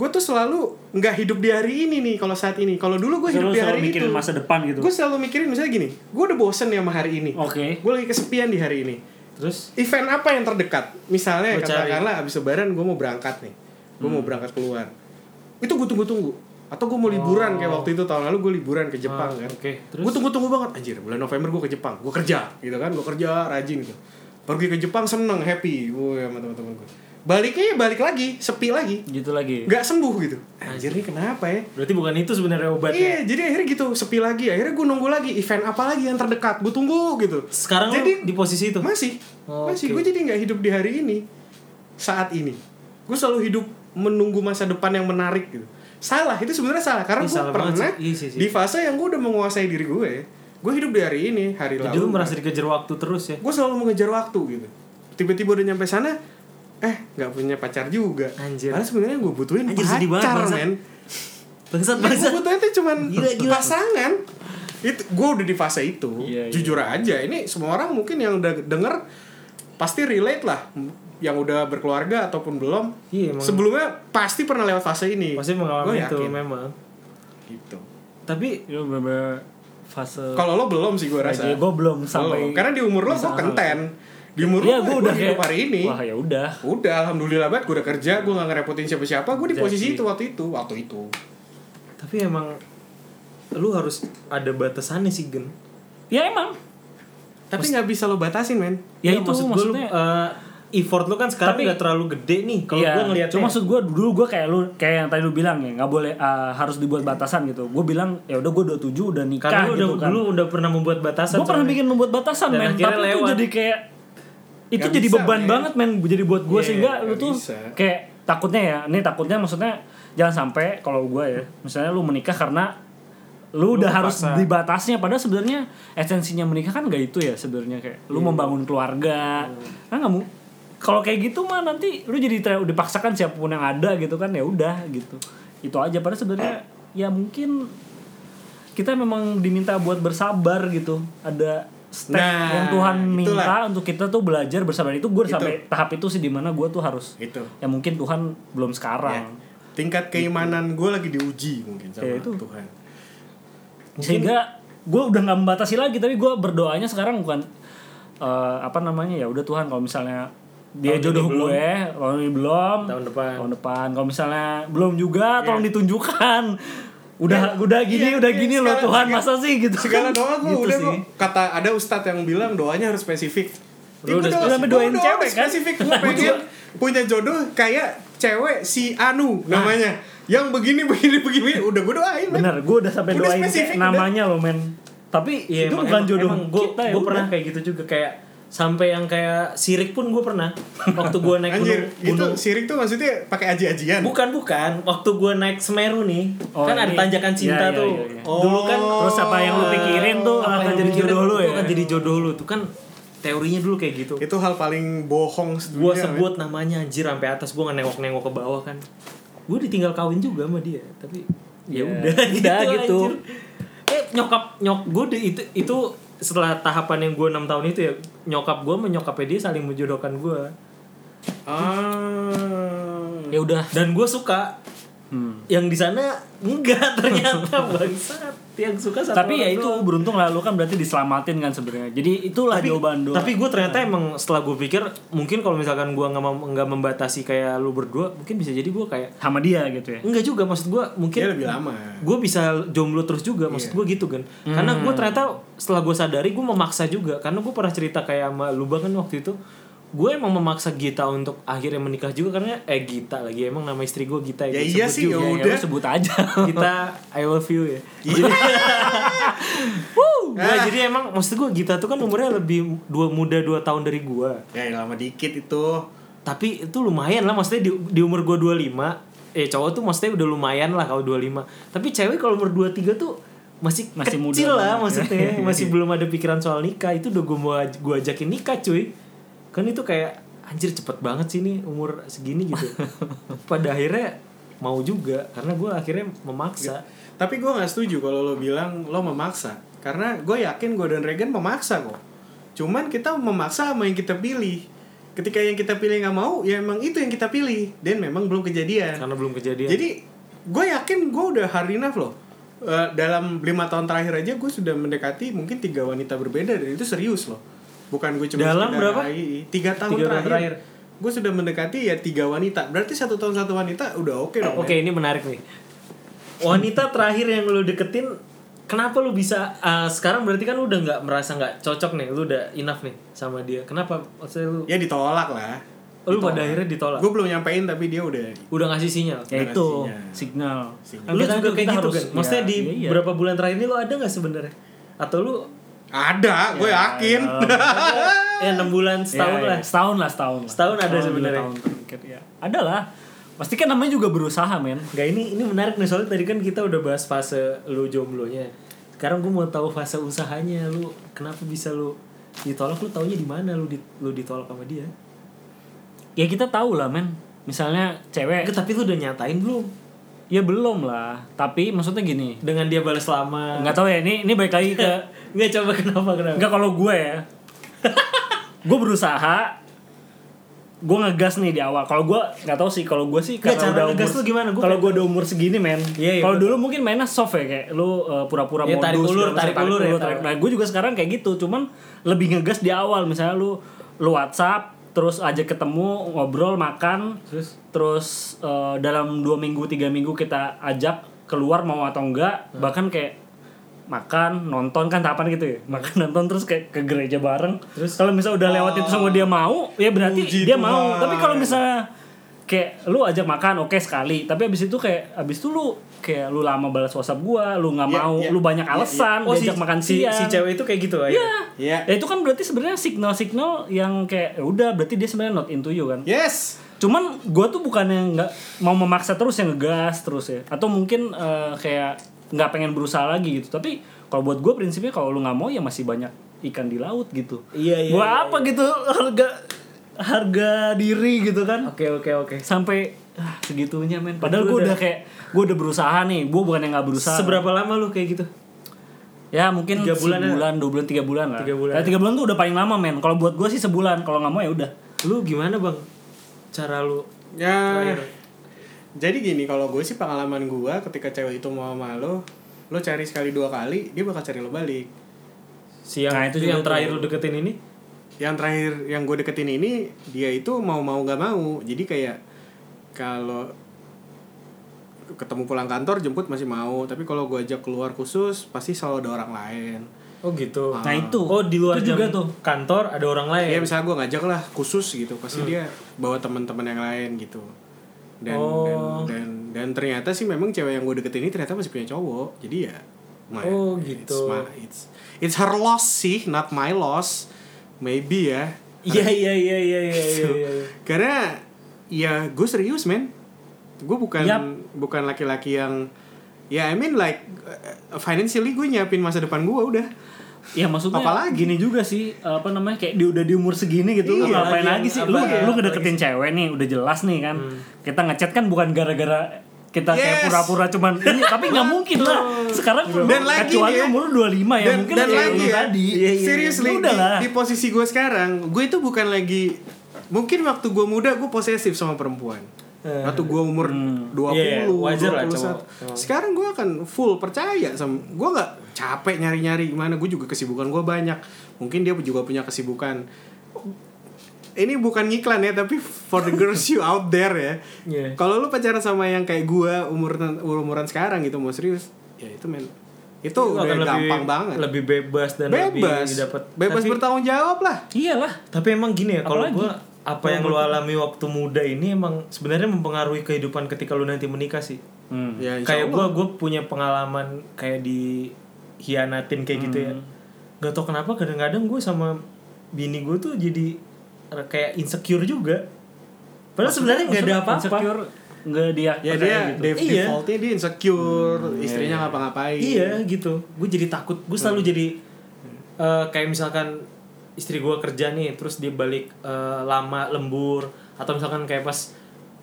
Speaker 1: gue tuh selalu nggak hidup di hari ini nih kalau saat ini kalau dulu gue hidup
Speaker 3: Selalu-
Speaker 1: di
Speaker 3: selalu
Speaker 1: hari itu
Speaker 3: mikirin masa depan gitu
Speaker 1: gue selalu mikirin misalnya gini gue udah bosen ya sama hari ini
Speaker 3: Oke.
Speaker 1: gue lagi kesepian di hari ini
Speaker 2: terus
Speaker 1: event apa yang terdekat misalnya
Speaker 2: Lo cari. Hmm.
Speaker 1: katakanlah abis lebaran gue mau berangkat nih gue mau berangkat keluar itu gue tunggu-tunggu atau gue mau liburan kayak waktu itu tahun lalu gue liburan ke Jepang
Speaker 2: Ah,
Speaker 1: kan
Speaker 2: oke. Terus?
Speaker 1: gue tunggu-tunggu banget anjir bulan November gue ke Jepang gue kerja gitu kan gue kerja rajin gitu pergi ke Jepang seneng happy gue sama teman-teman gue baliknya balik lagi sepi lagi
Speaker 3: gitu lagi
Speaker 1: nggak sembuh gitu anjir nih kenapa ya
Speaker 2: Berarti bukan itu sebenarnya obatnya.
Speaker 1: Iya, jadi akhirnya gitu sepi lagi. Akhirnya gue nunggu lagi event apa lagi yang terdekat. Gue tunggu gitu.
Speaker 2: Sekarang lu
Speaker 1: Jadi-
Speaker 2: di posisi itu.
Speaker 1: Masih,
Speaker 2: Oh,
Speaker 1: masih.
Speaker 2: oke.
Speaker 1: Gue jadi nggak hidup di hari ini, saat ini. Gue selalu hidup menunggu masa depan yang menarik gitu. Salah, itu sebenarnya salah. Karena
Speaker 2: Ih,
Speaker 1: gue
Speaker 2: salah banget
Speaker 1: pernah
Speaker 2: sih. Iya sih, sih.
Speaker 1: di fase yang gue udah menguasai diri gue. Gue hidup di hari ini, hari
Speaker 2: Jadi
Speaker 1: lalu.
Speaker 2: lu merasa dikejar waktu terus ya.
Speaker 1: Gue selalu mengejar waktu gitu. Tiba-tiba udah nyampe sana, eh nggak punya pacar juga.
Speaker 2: Anjir.
Speaker 1: Karena sebenarnya gue butuhin
Speaker 2: Anjir,
Speaker 1: pacar,
Speaker 2: sedih banget, bangsat.
Speaker 1: men. Yang
Speaker 2: Bangsat bangsat.
Speaker 1: gue butuhin tuh cuman
Speaker 2: Gila, gila.
Speaker 1: pasangan itu gue udah di fase itu
Speaker 3: Iya, iya.
Speaker 1: jujur aja ini semua orang mungkin yang udah denger pasti relate lah yang udah berkeluarga ataupun belum
Speaker 2: Iya, emang.
Speaker 1: sebelumnya pasti pernah lewat fase ini
Speaker 2: Pasti mengalami
Speaker 1: Gua
Speaker 2: itu
Speaker 1: yakin.
Speaker 2: memang.
Speaker 1: gitu
Speaker 2: Tapi
Speaker 3: itu bener fase
Speaker 1: kalau lo belum sih gue rasa
Speaker 3: aja gue Iya, belum
Speaker 1: Belum.
Speaker 3: sampai
Speaker 1: karena di umur lo
Speaker 3: bisa
Speaker 1: kok kenten di umur
Speaker 3: Iya,
Speaker 1: lo
Speaker 3: gue
Speaker 1: gua
Speaker 3: udah
Speaker 1: hidup
Speaker 3: kayak-
Speaker 1: hari ini
Speaker 3: wah ya udah
Speaker 1: udah alhamdulillah banget gue udah kerja gue gak ngerepotin siapa-siapa gue di posisi
Speaker 3: Jadi-
Speaker 1: itu waktu itu waktu itu
Speaker 2: tapi emang lu harus ada batasannya sih gen.
Speaker 3: ya emang
Speaker 1: tapi nggak bisa lo batasin men
Speaker 3: ya, itu
Speaker 2: maksud gua lu,
Speaker 3: maksudnya
Speaker 2: eh, effort lu kan sekarang
Speaker 3: Tapi-
Speaker 2: nggak terlalu gede nih kalau
Speaker 3: Iya,
Speaker 2: gua ya. ngelihatnya.
Speaker 3: cuma maksud gue dulu gue kayak lu kayak yang tadi lu bilang ya nggak boleh eh, harus dibuat batasan gitu gue bilang ya udah gue 27 udah nikah
Speaker 2: karena lu udah
Speaker 3: gitu kan
Speaker 2: dulu udah pernah membuat batasan.
Speaker 3: gue pernah
Speaker 2: soalnya.
Speaker 3: bikin membuat batasan
Speaker 2: Dan
Speaker 3: men
Speaker 2: akhirnya
Speaker 3: tapi itu
Speaker 2: lewat.
Speaker 3: jadi kayak itu
Speaker 1: Nggak
Speaker 3: jadi
Speaker 1: bisa,
Speaker 3: beban
Speaker 1: men.
Speaker 3: banget men jadi buat gue
Speaker 1: Iya,
Speaker 3: sehingga lu
Speaker 1: nggak
Speaker 3: tuh
Speaker 1: bisa.
Speaker 3: kayak takutnya ya ini takutnya maksudnya jangan sampai kalau gue ya misalnya lu menikah karena lu, udah harus
Speaker 2: terpaksa.
Speaker 3: dibatasnya padahal sebenarnya esensinya menikah kan gak itu ya sebenarnya kayak
Speaker 1: Iya.
Speaker 3: lu membangun keluarga kan nggak mu- kalau kayak gitu mah nanti lu jadi ter- dipaksakan siapapun yang ada gitu kan ya udah gitu itu aja padahal sebenarnya ya mungkin kita memang diminta buat bersabar gitu ada step
Speaker 1: Nah,
Speaker 3: yang Tuhan minta
Speaker 1: itulah.
Speaker 3: untuk kita tuh belajar bersabar itu gue
Speaker 1: Itu.
Speaker 3: sampai tahap itu sih dimana gue tuh harus
Speaker 1: itu
Speaker 3: ya mungkin Tuhan belum
Speaker 1: Ya.
Speaker 3: sekarang
Speaker 1: tingkat keimanan gue lagi diuji mungkin sama
Speaker 3: Gitu. Ya, itu.
Speaker 1: Tuhan Ya,
Speaker 3: sehingga gue udah nggak membatasi lagi tapi gue berdoanya sekarang bukan eh, apa namanya ya udah Tuhan kalau misalnya dia
Speaker 2: Tahun ini
Speaker 3: jodoh
Speaker 2: belum.
Speaker 3: gue kalau ini belum
Speaker 2: tahun depan.
Speaker 3: tahun depan kalau misalnya belum juga tolong ditunjukkan udah udah gini
Speaker 1: Ya. Iya,
Speaker 3: udah
Speaker 1: iya,
Speaker 3: gini loh
Speaker 1: segala-
Speaker 3: Tuhan
Speaker 1: segala-
Speaker 3: masa sih gitu
Speaker 1: segala
Speaker 3: kan.
Speaker 1: doa gue
Speaker 2: gitu
Speaker 1: udah
Speaker 2: sih.
Speaker 1: kok kata ada ustadz yang bilang doanya harus spesifik
Speaker 3: Lu udah
Speaker 1: doa-
Speaker 3: sampai
Speaker 1: gua
Speaker 3: doain
Speaker 1: doa
Speaker 3: cewek, kan?
Speaker 1: spesifik gue pengen punya jodoh kayak cewek si Anu
Speaker 3: Nah.
Speaker 1: namanya yang begini begini begini udah gue doain men.
Speaker 3: Bener, gue udah sampai
Speaker 1: Udah
Speaker 3: doain
Speaker 1: spesifik,
Speaker 3: kayak namanya loh men. Tapi
Speaker 2: Iya,
Speaker 3: itu
Speaker 2: emang-
Speaker 3: bukan
Speaker 2: emang-
Speaker 3: jodoh
Speaker 2: emang
Speaker 3: gue,
Speaker 2: gua,
Speaker 3: kita ya.
Speaker 2: gua
Speaker 3: udah.
Speaker 2: pernah kayak gitu juga kayak sampai yang kayak sirik pun gue pernah waktu gue naik
Speaker 1: anjir
Speaker 2: gunung,
Speaker 1: itu
Speaker 2: gunung
Speaker 1: sirik tuh maksudnya pakai aji-ajian
Speaker 2: bukan bukan waktu gue naik Semeru nih
Speaker 3: Oh,
Speaker 2: kan ada
Speaker 3: ini-
Speaker 2: tanjakan cinta
Speaker 3: iya, iya,
Speaker 2: tuh
Speaker 3: iya, iya.
Speaker 1: Oh.
Speaker 2: dulu kan
Speaker 3: Terus apa yang lu pikirin tuh
Speaker 2: apa
Speaker 3: akan
Speaker 2: yang
Speaker 3: jadi
Speaker 2: mikirin
Speaker 3: jodoh lu
Speaker 2: itu
Speaker 3: ya.
Speaker 2: akan jadi jodoh lu tuh kan teorinya dulu kayak gitu
Speaker 1: itu hal paling bohong sedunia,
Speaker 2: gue
Speaker 1: men.
Speaker 2: sebut namanya anjir sampai atas gue nggak nengok nengok ke bawah kan gue ditinggal kawin juga sama dia tapi ya
Speaker 3: Ya,
Speaker 2: udah
Speaker 3: udah gitu.
Speaker 2: anjir. eh nyokap nyok gue itu itu setelah tahapan yang gue enam tahun itu ya nyokap gue menyokapnya dia saling menjodohkan gue
Speaker 1: ah
Speaker 3: ya udah.
Speaker 2: dan gue suka
Speaker 3: Hmm.
Speaker 2: yang di sana enggak ternyata bangsat yang suka satu
Speaker 3: Tapi ya
Speaker 2: orang
Speaker 3: itu
Speaker 2: doang.
Speaker 3: beruntung lah lu kan berarti diselamatin kan sebenarnya. Jadi itulah jawaban doa.
Speaker 2: tapi gue ternyata emang setelah gue pikir mungkin kalau misalkan gue nggak mem- nggak membatasi kayak lu berdua mungkin bisa jadi gue kayak
Speaker 3: sama dia gitu ya.
Speaker 2: Enggak juga maksud gue mungkin
Speaker 1: Dia lebih lama. Iya.
Speaker 2: Gue bisa jomblo terus juga maksud gue gitu kan. Karena gue ternyata setelah gue sadari gue memaksa juga karena gue pernah cerita kayak sama Lubang kan waktu itu gue emang memaksa Gita untuk akhirnya menikah juga karena eh Gita lagi emang nama istri gue Gita
Speaker 1: Ya
Speaker 2: gua
Speaker 1: iya
Speaker 2: sebut
Speaker 1: sih,
Speaker 2: juga.
Speaker 1: ya
Speaker 3: Ya,
Speaker 1: Udah.
Speaker 3: lu sebut aja.
Speaker 2: Gita I love you ya. Jadi, Nah, jadi emang maksud gue Gita tuh kan umurnya lebih dua muda dua tahun dari gue.
Speaker 1: ya lama dikit itu
Speaker 2: Tapi itu lumayan lah maksudnya di, di umur gue 25 Eh cowok tuh maksudnya udah lumayan lah kalau 25 Tapi cewek kalau umur 23 tuh masih,
Speaker 3: Masih muda
Speaker 2: kecil lah
Speaker 3: banget.
Speaker 2: maksudnya Masih belum ada pikiran soal nikah Itu udah gue mau aj- gua ajakin nikah cuy Kan itu kayak anjir cepet banget sih nih umur segini gitu Pada akhirnya mau juga Karena gue akhirnya memaksa
Speaker 1: Tapi gue nggak setuju kalau lo bilang lo memaksa, karena gue yakin gue dan Regan memaksa kok. Cuman kita memaksa sama yang kita pilih. Ketika yang kita pilih nggak mau, ya emang itu yang kita pilih. Dan memang belum kejadian.
Speaker 2: Karena belum kejadian
Speaker 1: Jadi gue yakin gue udah hard enough loh. Eh, dalam lima tahun terakhir aja gue sudah mendekati mungkin tiga wanita berbeda dan itu serius loh. Bukan gue cuma
Speaker 2: Dalam
Speaker 1: sekedar
Speaker 2: berapa?
Speaker 1: hai. tiga tahun
Speaker 2: Tiga tahun
Speaker 1: terakhir.
Speaker 2: terakhir.
Speaker 1: Gue sudah mendekati ya tiga wanita. Berarti satu tahun satu wanita udah oke dong.
Speaker 2: Oke ini menarik nih Wanita terakhir yang lu deketin Kenapa lu bisa ah, Sekarang berarti kan lu udah nggak merasa nggak cocok nih Lu udah enough nih sama dia Kenapa maksudnya lu
Speaker 1: ya ditolak lah
Speaker 2: lu pada akhirnya ditolak
Speaker 1: gue belum nyampein tapi dia udah
Speaker 2: udah ngasih sinyal
Speaker 3: ya
Speaker 1: Nah,
Speaker 3: itu
Speaker 1: ngasihnya.
Speaker 3: signal
Speaker 1: Signal.
Speaker 3: Kan
Speaker 2: lu
Speaker 3: kita-
Speaker 2: juga
Speaker 3: kita
Speaker 2: kayak gitu
Speaker 3: harus-
Speaker 2: kan maksudnya
Speaker 3: ya,
Speaker 2: di
Speaker 3: iya, iya.
Speaker 2: berapa bulan terakhir ini lu ada nggak sebenarnya atau lu
Speaker 1: ada gue yakin
Speaker 2: ya enam bulan setahun
Speaker 3: Iya, iya.
Speaker 2: lah
Speaker 3: setahun lah setahun lah.
Speaker 2: Setahun ada
Speaker 3: dua
Speaker 2: sebenarnya.
Speaker 3: tahun terakhir, ya. ada lah pasti kan namanya juga berusaha men
Speaker 2: Gak ini ini menarik nih soalnya tadi kan kita udah bahas fase lu jomblonya. Sekarang gue mau tahu fase usahanya lu kenapa bisa lu ditolak lu taunya di mana lu di- lu ditolak sama dia?
Speaker 3: ya kita tahu lah men misalnya
Speaker 2: Eh,
Speaker 3: cewek
Speaker 2: tapi lu udah nyatain belum?
Speaker 3: ya belum lah tapi maksudnya gini
Speaker 2: Dengan dia balas lama.
Speaker 3: nggak tahu ya ini ini baik lagi ke
Speaker 2: Nggak coba kenapa kenapa?
Speaker 3: Enggak kalau gue ya. gue berusaha gue ngegas nih di awal. Kalau gue nggak tahu sih kalau gue sih
Speaker 2: Nggak,
Speaker 3: karena
Speaker 2: cara
Speaker 3: udah
Speaker 2: ngegas
Speaker 3: umur
Speaker 2: tuh gimana? Gua
Speaker 3: Kalau
Speaker 2: pengen
Speaker 3: gue udah umur segini men.
Speaker 2: Iya, iya,
Speaker 3: kalau
Speaker 2: betul.
Speaker 3: dulu mungkin mainnya soft ya kayak lu uh, pura-pura
Speaker 2: Iya,
Speaker 3: modus
Speaker 2: tarik ulur,
Speaker 3: segala macam,
Speaker 2: tarik ulur ya,
Speaker 3: tarik-
Speaker 2: tarik.
Speaker 3: Nah, gue juga sekarang kayak gitu, cuman lebih ngegas di awal misalnya lu lu WhatsApp terus aja ketemu ngobrol makan
Speaker 2: Terus
Speaker 3: terus eh, dalam dua minggu tiga minggu kita ajak keluar mau atau enggak
Speaker 1: Hmm.
Speaker 3: bahkan kayak makan nonton kan tahapan gitu ya
Speaker 1: Hmm.
Speaker 3: makan nonton terus kayak ke gereja bareng
Speaker 2: Terus?
Speaker 3: kalau misalnya udah lewat itu semua dia mau ya berarti
Speaker 1: Puji
Speaker 3: dia mau
Speaker 1: Tuhan.
Speaker 3: tapi kalau misalnya kayak lu ajak makan oke sekali tapi abis itu kayak abis itu lu kayak lu lama balas whatsapp gua lu nggak
Speaker 1: Iya,
Speaker 3: mau
Speaker 1: iya,
Speaker 3: lu banyak
Speaker 1: iya,
Speaker 3: alasan diajak
Speaker 2: Kan
Speaker 3: makan
Speaker 2: Oh, si,
Speaker 3: siang
Speaker 2: si cewek itu kayak gitu
Speaker 3: Iya.
Speaker 2: akhirnya.
Speaker 1: Iya.
Speaker 3: Ya, itu kan berarti sebenarnya signal-signal yang kayak ya udah berarti dia sebenarnya not into you kan
Speaker 1: yes
Speaker 3: cuman gue tuh bukannya nggak mau memaksa terus ya ngegas terus ya atau mungkin eh, kayak nggak pengen berusaha lagi gitu tapi kalau buat gue prinsipnya kalau lu nggak mau ya masih banyak ikan di laut gitu
Speaker 2: Iya, iya,
Speaker 3: Buat
Speaker 2: iya,
Speaker 3: apa gitu harga harga diri gitu kan
Speaker 2: Oke oke oke.
Speaker 3: sampai ah, segitunya men padahal
Speaker 2: Lu
Speaker 3: gue
Speaker 2: udah-
Speaker 3: udah kayak gue udah berusaha nih gue bukan yang nggak berusaha
Speaker 2: Seberapa lama lu kayak gitu?
Speaker 3: ya mungkin
Speaker 2: Tiga bulan
Speaker 3: bulan bulan dua bulan tiga bulan lah
Speaker 2: Tiga bulan. ya?
Speaker 3: Nah, tiga bulan tuh udah paling lama men kalau buat gue sih sebulan kalau nggak mau ya udah
Speaker 2: Lu gimana bang? Cara lu
Speaker 1: ya
Speaker 2: Terakhir.
Speaker 1: jadi gini kalau gue sih pengalaman gue ketika cewek itu mau sama lo lo cari sekali dua kali dia bakal cari lo balik
Speaker 2: siang
Speaker 3: Nah,
Speaker 2: itu
Speaker 3: itu
Speaker 2: yang
Speaker 3: juga
Speaker 2: terakhir
Speaker 3: tuh.
Speaker 2: lu deketin ini?
Speaker 1: yang terakhir yang gue deketin ini dia itu mau mau gak mau jadi kayak kalau ketemu pulang kantor jemput masih mau tapi kalau gue ajak keluar khusus pasti selalu ada orang lain
Speaker 2: Oh gitu.
Speaker 3: nah itu
Speaker 2: Oh di luar
Speaker 3: itu
Speaker 2: jam
Speaker 3: juga tuh
Speaker 2: kantor ada orang lain.
Speaker 1: ya misalnya gue ngajak lah khusus gitu
Speaker 2: Hmm.
Speaker 1: pasti dia bawa teman-teman yang lain gitu dan, dan
Speaker 2: Oh.
Speaker 1: dan dan ternyata sih memang cewek yang gue deketin ini ternyata masih punya cowok jadi ya my-
Speaker 2: Oh,
Speaker 1: it's
Speaker 2: gitu.
Speaker 1: my- it's it's her loss sih not my loss maybe ya
Speaker 2: Iya iya iya iya iya iya.
Speaker 1: Gitu.
Speaker 2: iya.
Speaker 1: karena ya gue serius men gue bukan
Speaker 3: Yap.
Speaker 1: bukan laki-laki yang ya I mean like uh, financially gue nyiapin masa depan gue udah
Speaker 3: Ya maksudnya
Speaker 1: Apalagi?
Speaker 3: gini juga sih apa namanya kayak dia udah di umur segini gitu lu
Speaker 1: Iya,
Speaker 2: lagi
Speaker 3: ngapain lagi
Speaker 2: yang-
Speaker 3: sih
Speaker 2: apa
Speaker 3: lu
Speaker 2: ya,
Speaker 3: lu ngedeketin cewek nih udah jelas nih kan kita ngechat kan bukan gara-gara kita kayak
Speaker 1: Hmm. Yes.
Speaker 3: pura-pura cuman ini tapi nggak mungkin lah sekarang
Speaker 1: Dan lagi
Speaker 3: kecuali
Speaker 1: nih ya.
Speaker 3: umur lu 25 ya
Speaker 1: dan,
Speaker 3: mungkin
Speaker 1: dan
Speaker 3: kayak
Speaker 1: lagi
Speaker 2: gitu
Speaker 3: lu
Speaker 1: ya
Speaker 3: tadi
Speaker 1: seriously
Speaker 3: Lu udah
Speaker 1: di-
Speaker 3: lah
Speaker 1: di, posisi gue sekarang gue itu bukan lagi mungkin waktu gue muda gue posesif sama perempuan
Speaker 2: Eh.
Speaker 1: waktu gue umur 20
Speaker 2: Iya, wajar lah
Speaker 1: 21.
Speaker 2: cowok.
Speaker 1: sekarang gue akan full percaya sama gue nggak capek nyari nyari gimana gue juga kesibukan gue banyak mungkin dia juga punya kesibukan ini bukan ngiklan ya tapi for the girls you out there ya
Speaker 2: Iya.
Speaker 1: kalau lu pacaran sama yang kayak gue umur umuran sekarang gitu mau serius ya itu men itu udah
Speaker 2: akan
Speaker 1: gampang
Speaker 2: lebih,
Speaker 1: banget
Speaker 2: Lebih bebas dan
Speaker 1: bebas
Speaker 2: lebih dapat.
Speaker 1: bebas
Speaker 2: tapi,
Speaker 1: bertanggung jawab lah
Speaker 3: iyalah
Speaker 2: tapi emang gini ya kalau
Speaker 3: Apalagi?
Speaker 2: gua apa yang lu alami waktu muda ini emang sebenarnya mempengaruhi kehidupan ketika lu nanti menikah sih.
Speaker 3: Iya.
Speaker 1: ya insya
Speaker 2: kayak
Speaker 1: Allah.
Speaker 2: gua gua punya pengalaman kayak dihianatin kayak gitu ya.
Speaker 3: Hmm.
Speaker 2: Gak tau kenapa kadang-kadang gue sama bini gue tuh jadi kayak insecure juga. Padahal sebenarnya nggak ada apa-apa.
Speaker 3: insecure nggak dia
Speaker 1: ya dia
Speaker 3: percaya gitu.
Speaker 1: dev-
Speaker 2: Iya.
Speaker 1: defaultnya dia insecure istrinya ngapa-ngapain
Speaker 2: Iya gitu, gue jadi takut, gue selalu jadi eh, kayak misalkan istri gue kerja nih, terus dia balik eh, lama lembur, atau misalkan kayak pas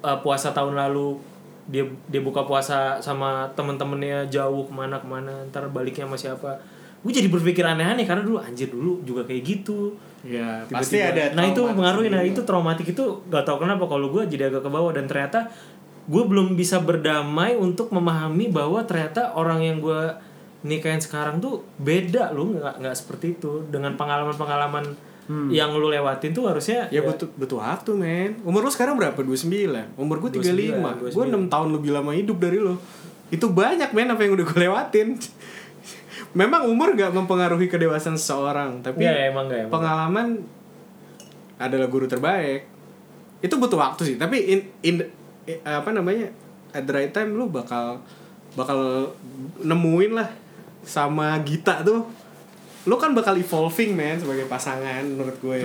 Speaker 2: eh, puasa tahun lalu dia dia buka puasa sama temen-temennya jauh kemana kemana, ntar baliknya sama siapa, gue jadi berpikir aneh-aneh karena dulu anjir dulu juga kayak gitu.
Speaker 1: ya
Speaker 2: Tiba-tiba.
Speaker 1: pasti ada
Speaker 2: nah itu
Speaker 1: trauma
Speaker 2: mempengaruhi nah
Speaker 1: sendiri.
Speaker 2: itu traumatik itu gak tau kenapa kalau gue jadi agak ke bawah dan ternyata gue belum bisa berdamai untuk memahami bahwa ternyata orang yang gue nikahin sekarang tuh beda lu nggak nggak seperti itu dengan pengalaman-pengalaman yang lu lewatin tuh harusnya
Speaker 1: ya butuh butuh waktu men umur lu sekarang berapa 29 umur gue 35 gue 6 tahun lebih lama hidup dari lo itu banyak men apa yang udah gue lewatin memang umur gak mempengaruhi kedewasaan seseorang tapi
Speaker 2: Nggak, ya, emang nggak, emang.
Speaker 1: pengalaman adalah guru terbaik itu butuh waktu sih tapi in, in i- apa namanya at the right time lu bakal bakal nemuin lah sama Gita tuh lu kan bakal evolving man sebagai pasangan menurut gue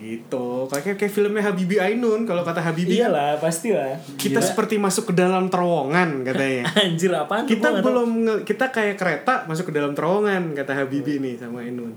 Speaker 1: gitu kayak kayak filmnya Habibie Ainun kalau kata Habibie kan,
Speaker 4: Iyalah, pasti lah.
Speaker 1: kita seperti masuk ke dalam terowongan katanya
Speaker 4: Anjir apaan? tuh, Anu, gua
Speaker 1: kita
Speaker 4: nggak tahu.
Speaker 1: belum nge- kita kayak kereta masuk ke dalam terowongan kata
Speaker 4: Oh.
Speaker 1: Habibie nih sama Ainun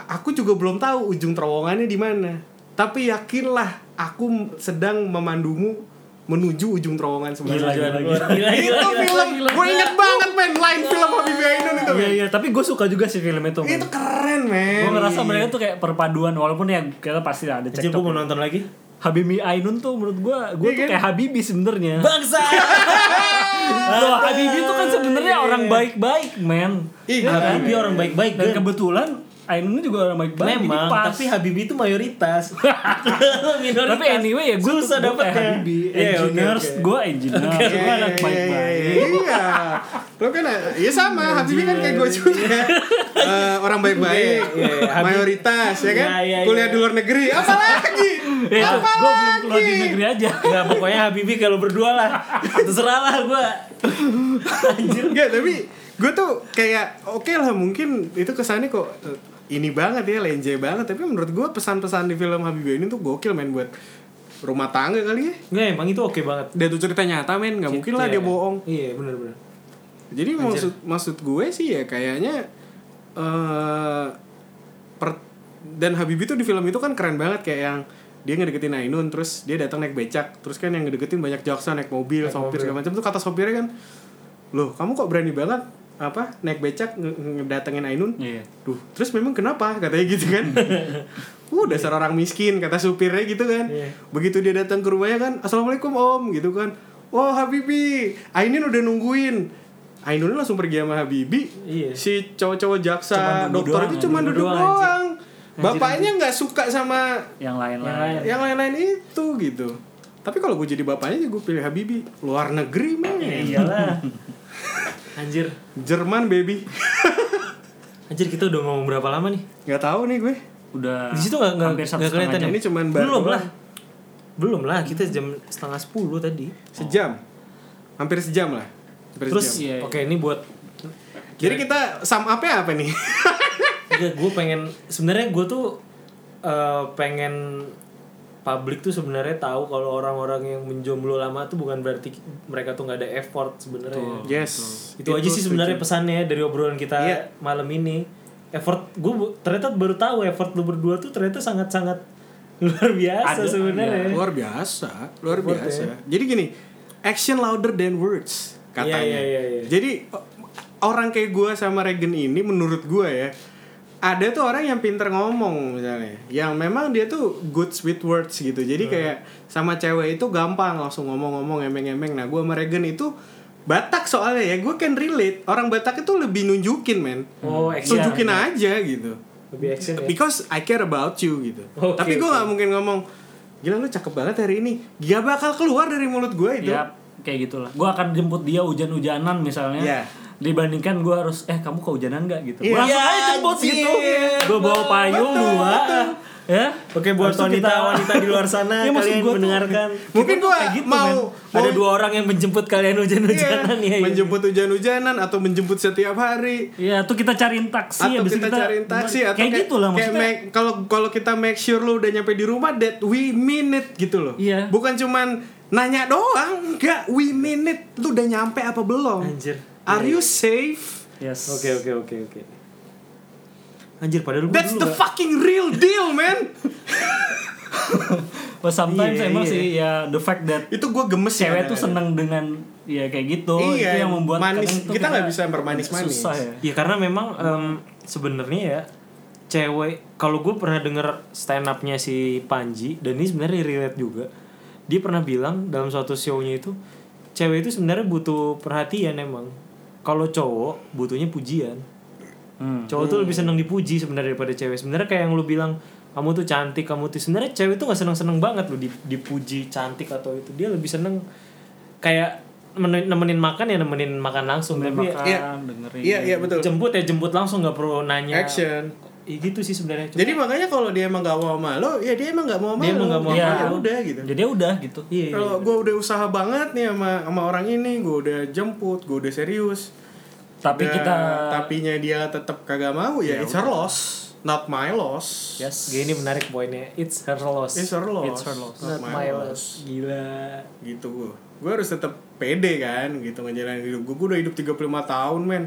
Speaker 1: A- aku juga belum tahu ujung terowongannya di mana tapi yakinlah aku m- sedang memandumu menuju ujung terowongan
Speaker 4: Gila, gila,
Speaker 1: sebenarnya
Speaker 4: gila, gila,
Speaker 1: itu
Speaker 4: gila, gila,
Speaker 1: film
Speaker 4: gila.
Speaker 1: gue inget banget men line film Habibie Ainun itu
Speaker 2: Iya
Speaker 1: men
Speaker 2: iya, tapi gue suka juga sih film itu.
Speaker 1: itu keren men
Speaker 3: Gue ngerasa mereka tuh kayak perpaduan walaupun ya kita pasti ada
Speaker 2: Anjir gue
Speaker 3: cekcok.
Speaker 2: mau nonton lagi.
Speaker 3: Habibi Ainun tuh menurut gue gue
Speaker 1: Iya
Speaker 3: tuh
Speaker 1: kan?
Speaker 3: kayak Habibi sebenarnya.
Speaker 4: Bangsa.
Speaker 3: Loh, Habibi tuh kan sebenarnya orang baik-baik, men.
Speaker 1: Ih,
Speaker 4: Iya,
Speaker 3: Ya kan?
Speaker 4: Habibie orang
Speaker 2: Iya
Speaker 4: baik-baik,
Speaker 3: Dan
Speaker 4: Gan.
Speaker 3: kebetulan Ainun juga orang baik-baik. jadi
Speaker 4: Memang,
Speaker 3: pas.
Speaker 4: tapi Habibie itu mayoritas. Minoritas.
Speaker 3: Tapi anyway ya gue
Speaker 4: susah
Speaker 3: dapet
Speaker 4: dapetnya.
Speaker 3: Habibi
Speaker 4: Iya, oke,
Speaker 3: engineers
Speaker 4: oke.
Speaker 3: gue engineer
Speaker 1: Iya, iya,
Speaker 3: gue anak
Speaker 1: iya, iya,
Speaker 3: baik-baik
Speaker 1: iya, iya. Lo kan, eh, ya sama, Habibie kan kayak gue juga Eh, Orang baik-baik,
Speaker 4: Iya, iya, Habib-
Speaker 1: mayoritas, ya
Speaker 4: Iya,
Speaker 1: kan?
Speaker 4: iya, iya.
Speaker 1: Kuliah di luar negeri, apa lagi?
Speaker 3: ya
Speaker 1: Apa
Speaker 3: gue belum keluar di
Speaker 1: lagi?
Speaker 3: negeri aja
Speaker 4: Enggak, pokoknya Habibie kalau berdua lah. Terserah lah gue. Anjir.
Speaker 1: Enggak, tapi gue tuh kayak oke lah mungkin itu kesannya kok eh, ini banget ya lenje banget tapi menurut gue pesan-pesan di film Habibie ini tuh gokil main buat rumah tangga kali ya
Speaker 2: Nggak emang itu oke banget.
Speaker 1: dia tuh cerita nyata men nggak mungkin lah
Speaker 2: Iya.
Speaker 1: dia bohong
Speaker 2: Iya benar-benar.
Speaker 1: jadi maksud maksud gue sih ya kayaknya eh per- dan Habibie tuh di film itu kan keren banget kayak yang dia ngedeketin Ainun terus dia datang naik becak terus kan yang ngedeketin banyak jaksa naik mobil sopir segala macam tuh kata sopirnya kan loh kamu kok berani banget apa naik becak nge- ngedatengin Ainun
Speaker 3: Iya.
Speaker 1: duh terus memang kenapa katanya gitu kan uh dasar orang miskin kata supirnya gitu kan
Speaker 2: Iya.
Speaker 1: begitu dia datang ke rumahnya kan assalamualaikum om gitu kan oh Habibi Ainun udah nungguin Ainun langsung pergi sama Habibi
Speaker 2: Iya.
Speaker 1: si cowok-cowok jaksa
Speaker 2: Cuman nunggu
Speaker 1: dokter
Speaker 2: doang,
Speaker 1: itu cuma
Speaker 2: nunggu
Speaker 1: duduk
Speaker 2: doang,
Speaker 1: doang,
Speaker 2: anjir.
Speaker 1: bapaknya nggak suka sama
Speaker 3: yang lain-lain
Speaker 1: yang lain-lain itu gitu tapi kalau gue jadi bapaknya gue pilih Habibi luar negeri
Speaker 2: Iya.
Speaker 1: men
Speaker 4: Ya Iyalah.
Speaker 2: Anjir.
Speaker 1: Jerman baby
Speaker 2: Anjir kita udah ngomong berapa lama nih?
Speaker 1: nggak tahu nih gue
Speaker 4: Nah,
Speaker 3: udah
Speaker 2: Di situ nggak nggak
Speaker 3: hampir satu
Speaker 2: nggak
Speaker 3: setengah
Speaker 2: kelihatan
Speaker 3: jam
Speaker 2: ya?
Speaker 1: Ini cuman baru
Speaker 2: belum
Speaker 1: doang.
Speaker 2: lah. Belum lah kita jam setengah sepuluh tadi.
Speaker 1: sejam hampir sejam lah hampir
Speaker 2: Terus
Speaker 1: sejam.
Speaker 3: Iya, iya.
Speaker 2: oke ini buat
Speaker 1: jadi kita sum up-nya apa nih
Speaker 2: gue pengen sebenarnya gue tuh eh, pengen publik tuh sebenarnya tahu kalau orang-orang yang menjomblo lama tuh bukan berarti mereka tuh nggak ada effort sebenarnya. ya.
Speaker 1: yes
Speaker 2: Itu, aja sih sebenarnya pesannya ya dari obrolan kita
Speaker 1: Iya.
Speaker 2: malam ini. Effort gue ternyata baru tahu effort lu berdua tuh ternyata sangat-sangat luar biasa
Speaker 3: Ada,
Speaker 2: sebenarnya. ya. Iya,
Speaker 1: luar biasa luar biasa jadi gini action louder than words katanya
Speaker 2: Iya, iya, iya, iya.
Speaker 1: jadi o- orang kayak gue sama Regen ini menurut gue ya ada tuh orang yang pinter ngomong misalnya yang memang dia tuh good with words gitu
Speaker 2: Hmm.
Speaker 1: jadi kayak sama cewek itu gampang langsung ngomong-ngomong emeng-emeng nah gue sama Regen itu Batak soalnya ya gue can relate orang Batak itu lebih nunjukin men
Speaker 2: Oh, action.
Speaker 1: tunjukin aja gitu
Speaker 2: Lebih action ya.
Speaker 1: because I care about you gitu.
Speaker 2: Oh, Oke,
Speaker 1: Tapi gue nggak mungkin ngomong gila lu cakep banget hari ini. Gak bakal keluar dari mulut gue
Speaker 2: Iya,
Speaker 1: itu.
Speaker 3: ya kayak gitulah gue akan jemput dia hujan-hujanan misalnya
Speaker 1: Iya.
Speaker 3: dibandingkan gue harus eh kamu kehujanan gak
Speaker 1: Iya.
Speaker 3: gitu Gua langsung
Speaker 4: Iya,
Speaker 3: aja jemput
Speaker 4: anjir.
Speaker 3: gitu gue bawa payung dua ya
Speaker 2: Oke buat
Speaker 3: Harusnya
Speaker 2: wanita
Speaker 3: kita-
Speaker 2: wanita di luar sana
Speaker 3: Iya,
Speaker 2: kalian
Speaker 3: maksud gua tuh- gitu,
Speaker 2: mendengarkan.
Speaker 1: Mungkin
Speaker 2: Kita tuh
Speaker 1: gua
Speaker 2: kayak
Speaker 1: mau-
Speaker 2: men. ada
Speaker 1: mau-
Speaker 2: dua orang yang menjemput kalian hujan-hujanan
Speaker 1: Iya,
Speaker 2: ya. ya.
Speaker 1: menjemput hujan-hujanan atau menjemput setiap hari
Speaker 3: Iya, tuh kita cariin taksi
Speaker 1: atau
Speaker 3: habis
Speaker 1: kita, cariin taksi atau
Speaker 3: kayak, gitu lah
Speaker 1: kayak
Speaker 3: maksudnya.
Speaker 1: make- kalau kalau kita make sure lu udah nyampe di rumah that we mean it gitu loh.
Speaker 3: Iya.
Speaker 1: Bukan cuman nanya doang, enggak we mean it. Lu udah nyampe apa belum?
Speaker 2: Anjir.
Speaker 1: Are you safe?
Speaker 3: yes.
Speaker 2: Oke oke oke oke. Anjir padahal gue
Speaker 1: That's
Speaker 2: dulu
Speaker 1: the
Speaker 2: nggak-
Speaker 1: fucking real deal, man.
Speaker 3: But sometimes
Speaker 2: Iya,
Speaker 3: emang
Speaker 2: iya.
Speaker 3: sih ya the fact that
Speaker 1: itu gue gemes ya
Speaker 3: cewek tuh
Speaker 1: kadang-kadang.
Speaker 3: seneng dengan ya kayak gitu itu yang membuat
Speaker 1: Iya, manis.
Speaker 3: kadang tuh
Speaker 1: kita nggak bisa bermanis-manis.
Speaker 3: susah ya.
Speaker 2: Ya karena memang em, sebenarnya ya cewek kalau gue pernah denger stand upnya si Panji dan ini sebenarnya relate juga. Dia pernah bilang dalam suatu show-nya itu cewek itu sebenarnya butuh perhatian emang. Kalau cowok butuhnya pujian.
Speaker 3: Hmm.
Speaker 2: Cowok tuh lebih seneng dipuji sebenarnya daripada cewek. Sebenarnya kayak yang lu bilang kamu tuh cantik, kamu tuh sebenarnya cewek tuh nggak seneng-seneng banget lu dipuji cantik atau itu. Dia lebih seneng kayak men- nemenin makan ya nemenin makan langsung. Tapi ya
Speaker 3: Makan,
Speaker 1: Iya.
Speaker 3: dengerin.
Speaker 1: Iya, iya betul.
Speaker 2: jemput ya jemput langsung nggak perlu nanya
Speaker 1: Action.
Speaker 2: ya gitu sih sebenarnya Cuma-
Speaker 1: Jadi makanya kalau dia emang gak mau sama lo, ya dia emang gak mau sama
Speaker 2: Dia
Speaker 1: lo.
Speaker 2: emang nggak mau
Speaker 1: Ya
Speaker 2: sama lo.
Speaker 1: udah gitu.
Speaker 3: Jadi udah gitu.
Speaker 2: iya iya.
Speaker 1: Kalau gue udah usaha banget nih sama sama orang ini, gue udah jemput, gue udah serius.
Speaker 3: Tapi
Speaker 1: Udah,
Speaker 3: kita
Speaker 1: tapinya dia tetap kagak mau ya, it's her loss, not my loss.
Speaker 2: yes ini menarik poinnya it's her loss
Speaker 1: It's her loss.
Speaker 2: it's her loss not my loss gila
Speaker 1: Gitu gue. Gue harus tetap pede kan gitu ngejalanin hidup gue. Gue udah hidup 35 tahun, men.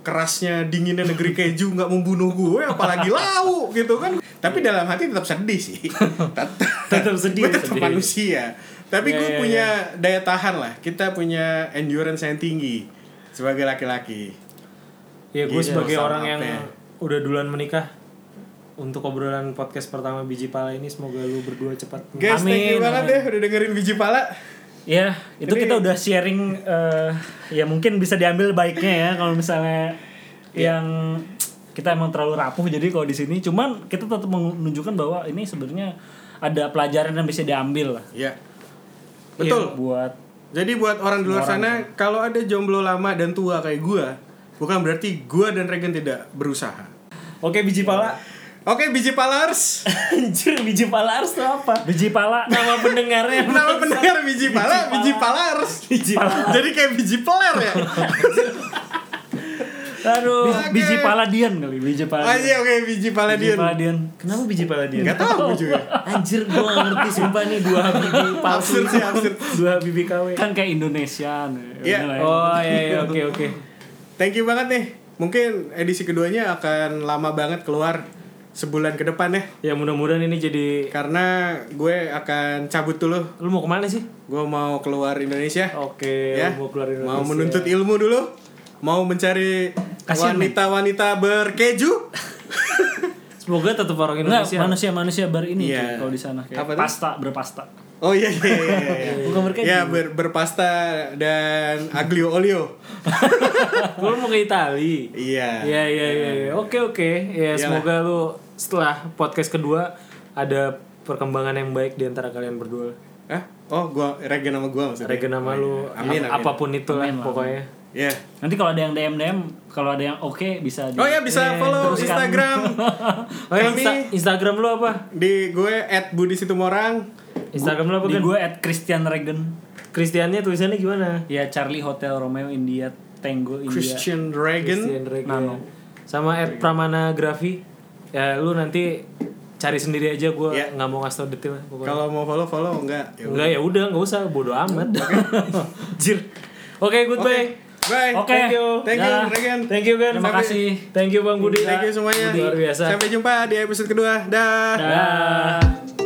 Speaker 1: Kerasnya dinginnya negeri keju nggak membunuh gue apalagi lau gitu kan. Tapi dalam hati tetap sedih sih. Tetap
Speaker 2: tetap Iya. sedih
Speaker 1: Gua tetap
Speaker 2: sedih.
Speaker 1: manusia tapi
Speaker 2: Ya,
Speaker 1: gue
Speaker 2: ya,
Speaker 1: punya daya tahan lah kita punya endurance yang tinggi sebagai laki-laki
Speaker 2: ya gue
Speaker 1: Gini,
Speaker 2: sebagai
Speaker 1: sama
Speaker 2: orang
Speaker 1: apa
Speaker 2: yang
Speaker 1: ya?
Speaker 2: udah duluan menikah untuk obrolan podcast pertama biji pala ini semoga lu berdua cepat
Speaker 1: guys thank you banget ya udah dengerin biji pala
Speaker 3: Ya, itu kita udah sharing eh, ya mungkin bisa diambil baiknya ya kalau misalnya yang kita emang terlalu rapuh jadi kalau di sini cuman kita tetap menunjukkan bahwa ini sebenarnya ada pelajaran yang bisa diambil lah.
Speaker 1: ya betul
Speaker 3: Iya, buat
Speaker 1: jadi buat orang di luar sana kalau ada jomblo lama dan tua kayak gue bukan berarti gue dan Regen tidak berusaha
Speaker 2: oke biji pala
Speaker 1: oke biji palars
Speaker 4: Anjir biji pala harus tuh apa?
Speaker 3: biji pala
Speaker 4: Nama pendengarnya
Speaker 1: nama pendengar ya, biji pala biji palars
Speaker 4: biji pala.
Speaker 1: jadi kayak biji peler ya
Speaker 3: aduh
Speaker 1: Oke.
Speaker 3: biji paladian kali biji paladian.
Speaker 1: aja Oh, iya, oke biji
Speaker 3: Biji
Speaker 1: paladian
Speaker 3: paladian.
Speaker 2: kenapa biji pala dia
Speaker 1: nggak tahu gue juga
Speaker 4: Anjir gue gak ngerti sumpah nih dua biji palsu.
Speaker 1: absurd sih absurd
Speaker 2: dua bibi KW
Speaker 3: Kan kayak Indonesian.
Speaker 1: Iya.
Speaker 3: Udah lah ya.
Speaker 2: oh iya iya oke oke
Speaker 1: Thank you banget nih. Mungkin edisi keduanya akan lama banget keluar sebulan ke depan ya.
Speaker 2: ya mudah-mudahan ini jadi
Speaker 1: Karena gue akan cabut dulu.
Speaker 2: lu mau kemana sih
Speaker 1: Gue mau keluar Indonesia.
Speaker 2: oke
Speaker 1: ya.
Speaker 2: lu mau keluar Indonesia
Speaker 1: Mau menuntut ilmu dulu. Mau mencari
Speaker 3: Kasihan,
Speaker 1: wanita-wanita berkeju.
Speaker 2: semoga tetap orang
Speaker 3: Nggak,
Speaker 2: Indonesia
Speaker 3: manusia-manusia bar ini
Speaker 1: Iya.
Speaker 3: cuy, kalau di sana kayak
Speaker 1: Apa tuh?
Speaker 3: pasta berpasta.
Speaker 1: Oh iya iya iya. iya, iya.
Speaker 4: Bukan berkeju.
Speaker 1: Ya ber- berpasta dan aglio olio.
Speaker 2: lu mau ke Italia
Speaker 1: Iya.
Speaker 2: Iya iya iya. iya. Oke oke. Ya
Speaker 1: Iyalah.
Speaker 2: semoga lu setelah podcast kedua ada perkembangan yang baik di antara kalian berdua.
Speaker 1: Hah? Oh, gua Regen sama gua maksudnya.
Speaker 2: Regen nama lu
Speaker 1: Amin, amin.
Speaker 2: ap- apapun itu lah pokoknya.
Speaker 1: Iya.
Speaker 3: Nanti kalau ada yang DM DM, kalau ada yang oke bisa di
Speaker 1: Oh ya bisa follow
Speaker 3: teruskan.
Speaker 1: Instagram
Speaker 2: Iya, kan. Oh, ya,
Speaker 1: Kami-
Speaker 2: Insta- Instagram lu apa?
Speaker 1: di gue at Budi Situmorang.
Speaker 2: Instagram lu apa
Speaker 3: Di
Speaker 2: kan?
Speaker 3: gue at Christian Regen
Speaker 2: Kristiannya tulisannya gimana?
Speaker 3: Ya Charlie Hotel Romeo India Tango India
Speaker 1: Christian Dragon.
Speaker 2: Iya. Christian Regen. Sama at Pramana Grafi. Ya lu nanti cari sendiri aja gue
Speaker 1: Iya.
Speaker 2: nggak mau ngasih tau detail pokoknya.
Speaker 1: Kalau mau follow follow enggak. Ya udah.
Speaker 2: Enggak ya udah nggak usah bodo amat. Jir. Oke, goodbye.
Speaker 1: Bye.
Speaker 3: Oke.
Speaker 2: Thank you.
Speaker 1: Thank you
Speaker 3: Dah.
Speaker 1: Dragon.
Speaker 2: Thank you Gan.
Speaker 3: Terima
Speaker 1: Sampai-
Speaker 3: kasih
Speaker 2: Thank you Bang Budi.
Speaker 1: Thank you semuanya.
Speaker 2: Luar biasa.
Speaker 1: Sampai jumpa di episode kedua. Dah.
Speaker 2: Dah.